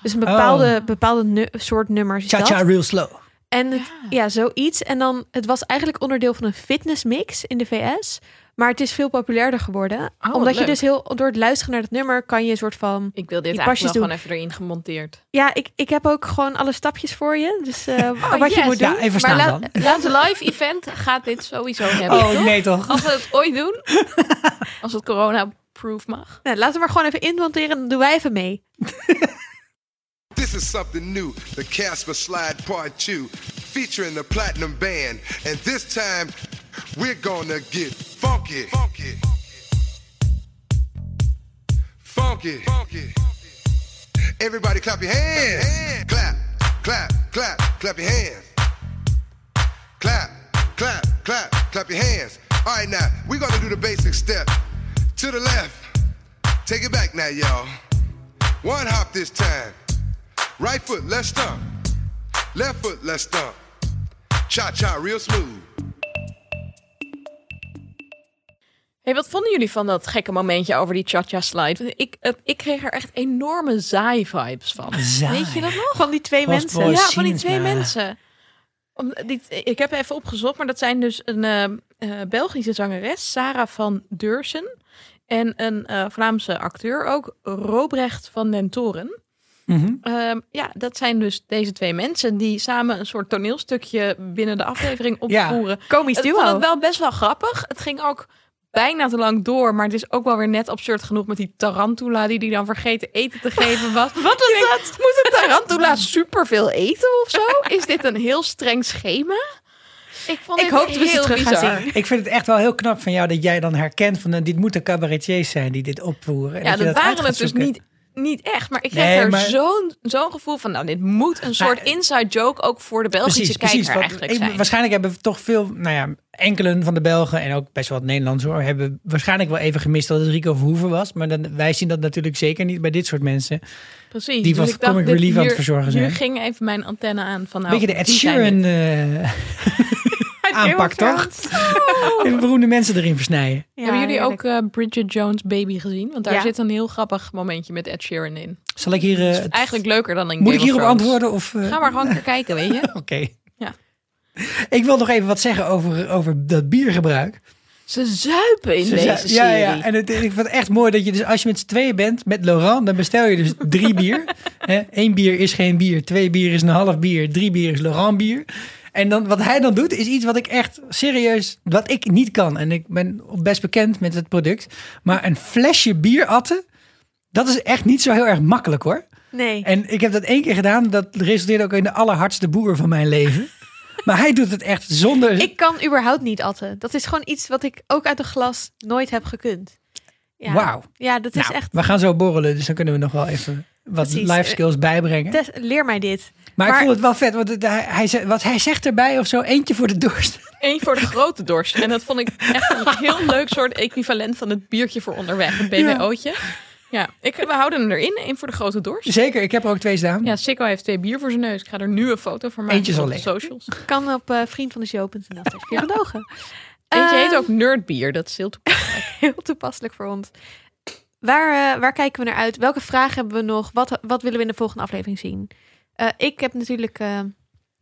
Speaker 2: Dus een bepaalde, bepaalde nu- soort nummer. is dat.
Speaker 1: Oh. Cha-cha real slow.
Speaker 2: En het, ja. zoiets. En dan, het was eigenlijk onderdeel van een fitnessmix in de VS. Maar het is veel populairder geworden.
Speaker 3: wat
Speaker 1: Oh,
Speaker 2: omdat je
Speaker 3: leuk.
Speaker 2: dus heel, door het luisteren naar dat nummer kan je een soort van...
Speaker 3: Ik wil dit
Speaker 2: Die
Speaker 3: eigenlijk
Speaker 2: pasjes
Speaker 3: wel
Speaker 2: doen.
Speaker 3: gewoon even erin gemonteerd.
Speaker 2: Ja, ik, ik heb ook gewoon alle stapjes voor je. Dus eh,
Speaker 3: <laughs>
Speaker 2: wat je
Speaker 3: Oh, yes.
Speaker 2: moet doen.
Speaker 1: Ja, even
Speaker 3: Maar
Speaker 1: staan
Speaker 3: laat,
Speaker 1: dan.
Speaker 3: <laughs> laat de live event gaat dit
Speaker 1: <laughs>
Speaker 3: sowieso hebben.
Speaker 1: Oh nee toch?
Speaker 3: Als we het ooit
Speaker 1: <laughs>
Speaker 3: doen. Als het corona-proof mag.
Speaker 2: Nou, laten we maar gewoon even inventeren. Dan doen wij even mee.
Speaker 6: This is something new, the Casper Slide Part 2, featuring the Platinum Band. And this time, we're gonna get funky. Funky. Funky. Funky. Everybody clap your hands. Clap, clap, clap, clap your hands. Clap, clap, clap, clap your hands. All right, now, we're gonna do the basic step. To the left. Take it back now, y'all. One hop this time. Right foot, left stomp. Left foot, left stomp. Cha cha, real smooth.
Speaker 3: Hey, wat vonden jullie van dat gekke momentje over die cha-cha slide? Want Ik, eh, ik kreeg er echt enorme zaai-vibes van.
Speaker 1: Zaai.
Speaker 3: Weet je dat nog?
Speaker 2: Van die twee
Speaker 1: Lost
Speaker 2: mensen.
Speaker 1: Boys.
Speaker 3: ja, van die
Speaker 1: Scenes,
Speaker 3: twee
Speaker 1: maar-
Speaker 3: mensen. Om, die, ik heb even opgezocht, maar dat zijn dus een eh, eh, Belgische zangeres, Sarah van Deursen. En een eh, Vlaamse acteur ook, Robrecht van den Toren.
Speaker 1: Mhm.
Speaker 3: Ehm, ja, dat zijn dus deze twee mensen die samen een soort toneelstukje binnen de aflevering opvoeren.
Speaker 2: Komisch
Speaker 3: Het
Speaker 2: duo.
Speaker 3: vond het wel best wel grappig. Het ging ook bijna te lang door, maar het is ook wel weer net absurd genoeg met die tarantula die die dan vergeten eten te geven was. Wat is dat? Moet een tarantula <laughs> superveel eten of zo? Is dit een heel streng schema? Ik vond
Speaker 2: Ik
Speaker 3: dit
Speaker 2: hoop dat we ze
Speaker 3: heel
Speaker 2: terug gaan
Speaker 3: bizar.
Speaker 2: zien.
Speaker 1: Ik vind het echt wel heel knap van jou dat jij dan herkent van eh, dit moeten cabaretiers zijn die dit opvoeren. En
Speaker 3: Ja,
Speaker 1: je dat
Speaker 3: dat
Speaker 1: uit
Speaker 3: waren
Speaker 1: gaat
Speaker 3: het dus
Speaker 1: zoeken.
Speaker 3: niet, niet echt. Maar ik kreeg
Speaker 1: Nee,
Speaker 3: er
Speaker 1: maar-
Speaker 3: zo'n zo'n gevoel van... nou, dit moet een soort inside joke ook voor de Belgische kijker
Speaker 1: want
Speaker 3: eigenlijk
Speaker 1: ik-
Speaker 3: zijn.
Speaker 1: Waarschijnlijk hebben we toch veel, nou ja, enkelen van de Belgen en ook best wel wat Nederlands hoor, hebben waarschijnlijk wel even gemist dat het Rico Verhoeven was. Maar dan, wij zien dat natuurlijk zeker niet bij dit soort mensen.
Speaker 3: Nou, Precies. dus
Speaker 1: die was
Speaker 3: ik dacht,
Speaker 1: comic
Speaker 3: dit-
Speaker 1: relief aan het
Speaker 3: hier-
Speaker 1: verzorgen zijn.
Speaker 3: Hier ging even mijn antenne aan van... Nou,
Speaker 1: Beetje de Ed
Speaker 3: wie zijn
Speaker 1: Sheeran
Speaker 3: dit? <laughs>
Speaker 1: eh, aanpak toch? Even beroemde mensen erin versnijden.
Speaker 2: Ja,
Speaker 3: Hebben jullie
Speaker 2: heerlijk.
Speaker 3: ook eh, Bridget Jones Baby gezien? Want daar
Speaker 2: Ja.
Speaker 3: zit een heel grappig momentje met Ed Sheeran in. Dus
Speaker 1: Zal ik hier... eh, het-
Speaker 3: Eigenlijk leuker dan in
Speaker 1: moet
Speaker 3: Game
Speaker 1: ik
Speaker 3: of
Speaker 1: hierop
Speaker 3: Thrones.
Speaker 1: antwoorden of... eh,
Speaker 3: Ga maar gewoon <laughs> een keer kijken, weet je.
Speaker 1: <laughs> Oké.
Speaker 3: Ja.
Speaker 1: Ik wil nog even wat zeggen over, over dat biergebruik.
Speaker 3: Ze zuipen in
Speaker 1: Ze
Speaker 3: deze
Speaker 1: zei-
Speaker 3: serie.
Speaker 1: ja, ja, en het, ik vind het echt mooi dat je dus als je met z'n tweeën bent met Laurent, dan bestel je dus drie
Speaker 3: <laughs>
Speaker 1: bier. Eén bier is geen bier, twee bier is een half bier, drie bier is Laurent bier. En dan, wat hij dan doet, is iets wat ik echt serieus, wat ik niet kan. En ik ben best bekend met het product. Maar een flesje bier atten, dat is echt niet zo heel erg makkelijk hoor.
Speaker 2: Nee.
Speaker 1: En ik heb dat één keer gedaan, dat resulteerde ook in de allerhardste boer van mijn
Speaker 3: <laughs>
Speaker 1: leven. Maar hij doet het echt zonder...
Speaker 2: Ik kan überhaupt niet atten. Dat is gewoon iets wat ik ook uit een glas nooit heb gekund. Ja.
Speaker 1: Wauw.
Speaker 2: Ja, dat is
Speaker 1: Nou,
Speaker 2: echt...
Speaker 1: We gaan zo borrelen, dus dan kunnen we nog wel even wat
Speaker 2: Precies.
Speaker 1: life skills bijbrengen.
Speaker 2: Tess, leer mij dit.
Speaker 1: maar, ik
Speaker 2: maar-
Speaker 1: vond het wel vet, want het- hij, hij, ze- wat hij zegt erbij of zo, eentje voor de dorst. <laughs>
Speaker 3: Eén voor de grote dorst. En dat vond ik echt een heel leuk soort equivalent van het biertje voor onderweg. Een BWO'tje. Ja, ik, we houden hem erin. Eén voor de grote dorst.
Speaker 1: Zeker, ik heb er ook twee staan.
Speaker 3: Ja, Sikko heeft twee bier voor zijn neus. Ik ga er nu een foto van maken
Speaker 1: Eentje is
Speaker 3: op
Speaker 1: al
Speaker 3: de
Speaker 1: leeg.
Speaker 3: socials.
Speaker 2: Kan op eh vriendvandeshow.nl. Dat is gedogen.
Speaker 3: Eentje heet
Speaker 2: Ehm,
Speaker 3: ook nerdbier. Dat is heel toepasselijk.
Speaker 2: Heel toepasselijk voor ons. Waar, eh, waar kijken we naar uit? Welke vragen hebben we nog? Wat, wat willen we in de volgende aflevering zien? Eh, ik heb natuurlijk eh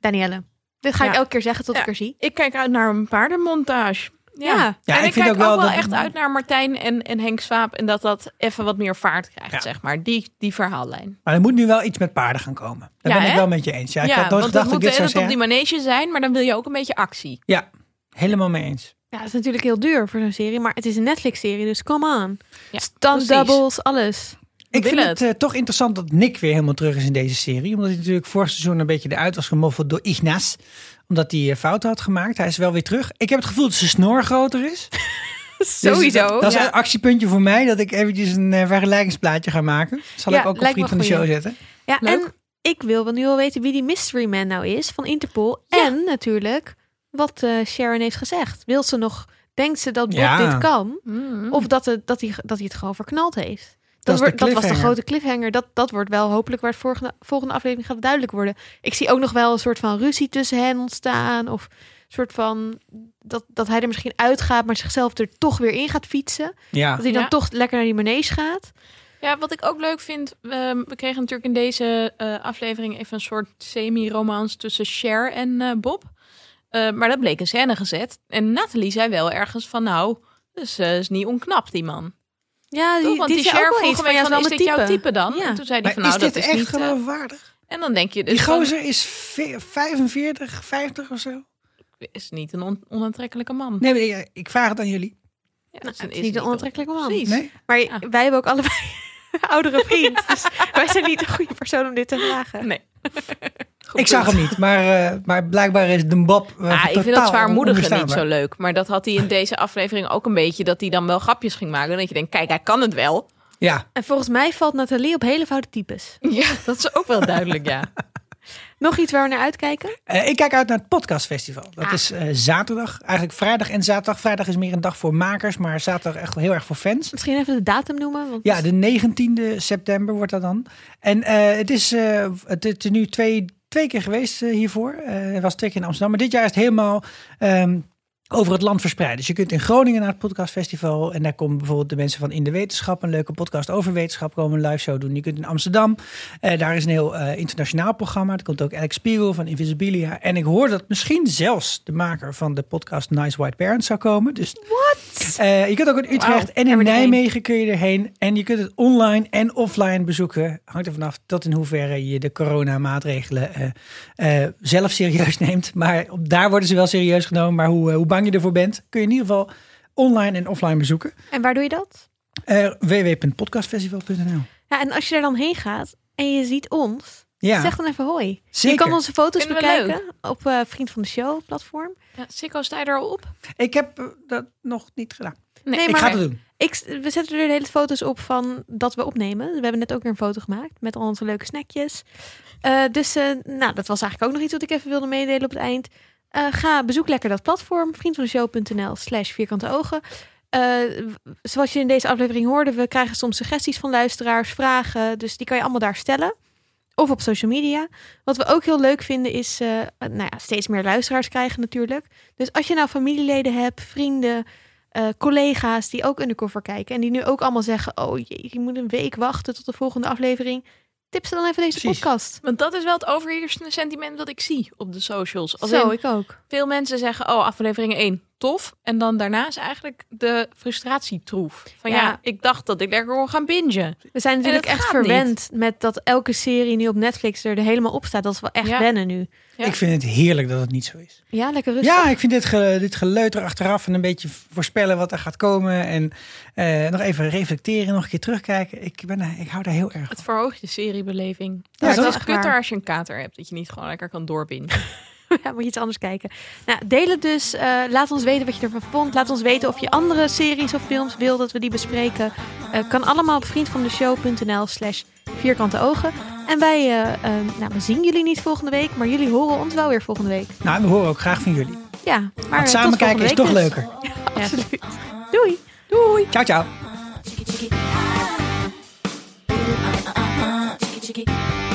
Speaker 2: Danielle. Dit ga ik
Speaker 3: Ja.
Speaker 2: elke keer zeggen tot
Speaker 3: Ja.
Speaker 2: ik er zie.
Speaker 3: Ik kijk uit naar een paardenmontage. Ja.
Speaker 2: Ja.
Speaker 1: Ja,
Speaker 3: en ik,
Speaker 1: ik vind
Speaker 3: kijk
Speaker 1: ook wel
Speaker 3: ook wel
Speaker 1: dat-
Speaker 3: echt uit naar Martijn en, en Henk Swaap. En dat dat even wat meer vaart krijgt,
Speaker 1: Ja.
Speaker 3: zeg maar. Die, die verhaallijn.
Speaker 1: Maar er moet nu wel iets met paarden gaan komen. Daar
Speaker 3: Ja,
Speaker 1: ben ik
Speaker 3: hè?
Speaker 1: wel met je eens. Ja, ik had nooit
Speaker 3: want dat
Speaker 1: gedacht dat
Speaker 3: moet
Speaker 1: ik dit
Speaker 3: de
Speaker 1: zou
Speaker 3: hele tijd op
Speaker 1: zeggen.
Speaker 3: die manege zijn. Maar dan wil je ook een beetje actie.
Speaker 1: Ja, helemaal mee eens.
Speaker 2: Ja, het is natuurlijk heel duur voor zo'n serie, maar het is een Netflix-serie, dus come on.
Speaker 3: Ja,
Speaker 2: Stunt
Speaker 3: precies.
Speaker 2: doubles, alles.
Speaker 1: Ik vind
Speaker 3: willen
Speaker 1: het eh, toch interessant dat Nick weer helemaal terug is in deze serie. Omdat hij natuurlijk vorig seizoen een beetje eruit was gemoffeld door Ignas. Omdat hij eh, fouten had gemaakt. Hij is wel weer terug. Ik heb het gevoel dat zijn snor groter is. Dus dat, dat is
Speaker 2: ja.
Speaker 1: een actiepuntje voor mij dat ik eventjes een eh, vergelijkingsplaatje ga maken. Zal
Speaker 2: Ja,
Speaker 1: ik ook op
Speaker 2: lijkt me
Speaker 1: vriend van de
Speaker 2: een
Speaker 1: show
Speaker 2: goeie.
Speaker 1: zetten.
Speaker 2: Ja,
Speaker 3: Leuk.
Speaker 2: en ik wil wel nu wel weten wie die mystery man nou is van Interpol. En natuurlijk wat eh, Sharon heeft gezegd. Wil ze nog, denkt ze dat Bob
Speaker 1: Ja.
Speaker 2: dit kan?
Speaker 3: Mm.
Speaker 2: Of dat, het, dat, hij, dat hij het gewoon verknald heeft?
Speaker 1: Dat
Speaker 2: Dat,
Speaker 1: is
Speaker 2: wordt,
Speaker 1: de
Speaker 2: dat was de
Speaker 1: cliffhanger.
Speaker 2: grote cliffhanger. Dat, dat wordt wel hopelijk waar het volgende, volgende aflevering gaat het duidelijk worden. Ik zie ook nog wel een soort van ruzie tussen hen ontstaan. Of een soort van dat, dat hij er misschien uitgaat, maar zichzelf er toch weer in gaat fietsen.
Speaker 1: Ja,
Speaker 2: Dat hij dan
Speaker 3: Ja.
Speaker 2: toch lekker naar die manege gaat.
Speaker 3: Ja, wat ik ook leuk vind, ehm, we kregen natuurlijk in deze eh, aflevering even een soort semi-romance tussen Cher en eh, Bob. Eh, maar dat bleek een scène gezet. En Nathalie zei wel ergens van, nou, dus eh, is niet onknap die man.
Speaker 2: Ja,
Speaker 3: Toch? Want die,
Speaker 2: zei ook
Speaker 3: Cher
Speaker 2: wel
Speaker 3: vroeg
Speaker 2: iets
Speaker 3: van, ja,
Speaker 2: ja,
Speaker 3: van, is
Speaker 2: zo'n
Speaker 3: dit
Speaker 2: type.
Speaker 3: jouw type dan?
Speaker 2: Ja.
Speaker 3: En toen zei hij
Speaker 1: maar
Speaker 3: van, nou,
Speaker 1: is dit
Speaker 3: dat is
Speaker 1: echt
Speaker 3: niet... eh,
Speaker 1: geloofwaardig?
Speaker 3: en dan denk je dus,
Speaker 1: Die
Speaker 3: van,
Speaker 1: gozer is ve- 45, 50 of zo.
Speaker 3: is niet een on- onaantrekkelijke man.
Speaker 1: Nee, maar ik, ik vraag het aan jullie.
Speaker 3: Ja,
Speaker 2: Nou,
Speaker 3: is
Speaker 2: het is
Speaker 3: is
Speaker 2: niet een
Speaker 3: on-
Speaker 2: onaantrekkelijke man.
Speaker 3: Precies.
Speaker 1: Nee?
Speaker 2: Maar
Speaker 3: Ja.
Speaker 2: wij hebben ook allebei <laughs> een oudere vriend. Dus wij zijn niet de goede persoon om dit te vragen.
Speaker 3: Nee.
Speaker 1: Ik zag hem niet, maar, eh, maar blijkbaar is de Bob. eh,
Speaker 3: Ah, ik vind dat
Speaker 1: totaal
Speaker 3: zwaarmoedige niet
Speaker 1: onbestaanbaar.
Speaker 3: zo leuk. Maar dat had hij in deze aflevering ook een beetje. Dat hij dan wel grapjes ging maken. Dat je denkt, kijk, hij kan het wel.
Speaker 1: Ja,
Speaker 2: En volgens mij valt Nathalie op hele foute types.
Speaker 3: <laughs> Ja, dat is ook wel duidelijk, ja.
Speaker 2: Nog iets waar we naar uitkijken?
Speaker 1: Eh, ik kijk uit naar het podcastfestival.
Speaker 3: Ah.
Speaker 1: Dat is eh, zaterdag. Eigenlijk vrijdag en zaterdag. Vrijdag is meer een dag voor makers, maar zaterdag echt heel erg voor fans.
Speaker 2: Misschien even de datum noemen. Want
Speaker 1: Ja, de 19e september wordt dat dan. En eh, het, is, eh, het, het is nu twee, twee keer geweest eh, hiervoor. Eh, Het was twee keer in Amsterdam. Maar dit jaar is het helemaal ehm, over het land verspreid. Dus je kunt in Groningen naar het podcastfestival. En daar komen bijvoorbeeld de mensen van In de Wetenschap. Een leuke podcast over wetenschap komen een live show doen. Je kunt in Amsterdam. eh, daar is een heel eh, internationaal programma. Er komt ook Alex Spiegel van Invisibilia. En ik hoor dat misschien zelfs de maker van de podcast Nice White Parents zou komen. Dus eh, je kunt ook in Utrecht en in
Speaker 2: gaan we erheen.
Speaker 1: Nijmegen kun je erheen. En je kunt het online en offline bezoeken. Hangt er vanaf tot in hoeverre je de coronamaatregelen eh, eh, zelf serieus <laughs> neemt. Maar op- daar worden ze wel serieus genomen. Maar hoe, eh, hoe bang je ervoor bent, kun je in ieder geval online en offline bezoeken.
Speaker 2: En waar doe je dat?
Speaker 1: Eh www.podcastfestival.nl
Speaker 2: Ja, en als je er dan heen gaat en je ziet ons,
Speaker 1: Ja,
Speaker 2: zeg dan even hoi.
Speaker 1: zeker.
Speaker 2: Je kan onze foto's
Speaker 3: Vinden we
Speaker 2: bekijken op eh, Vriend van de Show platform.
Speaker 3: ja Sikko, sta je er al op?
Speaker 1: Ik heb eh, dat nog niet gedaan.
Speaker 3: Nee,
Speaker 1: ik ga het doen.
Speaker 2: Ik, we zetten er de hele foto's op van dat we opnemen. We hebben net ook weer een foto gemaakt met al onze leuke snackjes. Eh, dus eh, nou, dat was eigenlijk ook nog iets wat ik even wilde meedelen op het eind. Eh, ga bezoek lekker dat platform vriendvandeshow.nl slash vierkante ogen. Eh, w- zoals je in deze aflevering hoorde, we krijgen soms suggesties van luisteraars, vragen. Dus die kan je allemaal daar stellen. Of op social media. Wat we ook heel leuk vinden is, eh, nou ja, steeds meer luisteraars krijgen natuurlijk. Dus als je nou familieleden hebt, vrienden, eh, collega's die ook undercover kijken. En die nu ook allemaal zeggen: Oh jee, je moet een week wachten tot de volgende aflevering. Tip ze dan even deze
Speaker 1: Precies.
Speaker 2: podcast.
Speaker 3: Want dat is wel het overheersende sentiment dat ik zie op de socials. Als
Speaker 2: Zo,
Speaker 3: in,
Speaker 2: ik ook.
Speaker 3: veel mensen zeggen, oh, aflevering 1, tof. En dan daarna is eigenlijk de frustratietroef. Van ja,
Speaker 2: Ja.
Speaker 3: ik dacht dat ik lekker kon gaan bingen.
Speaker 2: We zijn natuurlijk
Speaker 3: het
Speaker 2: echt
Speaker 3: gaat
Speaker 2: verwend met dat elke serie nu op Netflix er helemaal op staat. Dat is wel echt
Speaker 3: Ja.
Speaker 2: wennen nu.
Speaker 3: Ja.
Speaker 1: Ik vind het heerlijk dat het niet zo is.
Speaker 2: Ja, lekker rustig.
Speaker 1: Ja, ik vind dit, ge, dit geleuter achteraf en een beetje voorspellen wat er gaat komen. En eh, nog even reflecteren, nog een keer terugkijken. Ik, ben, daar- ik hou daar heel erg van.
Speaker 3: Het verhoogt je seriebeleving.
Speaker 1: Ja, dat
Speaker 3: Maar het
Speaker 2: is
Speaker 3: is
Speaker 2: echt
Speaker 3: kutter
Speaker 2: waar.
Speaker 3: als je een kater hebt, dat je niet gewoon lekker kan doorbingen.
Speaker 2: <laughs> Ja, moet je iets anders kijken. Nou, deel het dus. Eh, laat ons weten wat je ervan vond. Laat ons weten of je andere series of films wil dat we die bespreken. Eh, kan allemaal op vriendvandeshow.nl slash vierkante ogen. En wij, eh, eh, nou, we zien jullie niet volgende week, maar jullie horen ons wel weer volgende week.
Speaker 1: Nou, en we horen ook graag van jullie.
Speaker 2: Ja, maar eh,
Speaker 1: Want samen
Speaker 2: tot volgende
Speaker 1: kijken is
Speaker 2: week
Speaker 1: toch
Speaker 2: dus.
Speaker 1: leuker.
Speaker 2: <laughs> Absoluut. Doei. Doei.
Speaker 1: Ciao, ciao.
Speaker 7: chicky chicky ah, chicky chicky ah.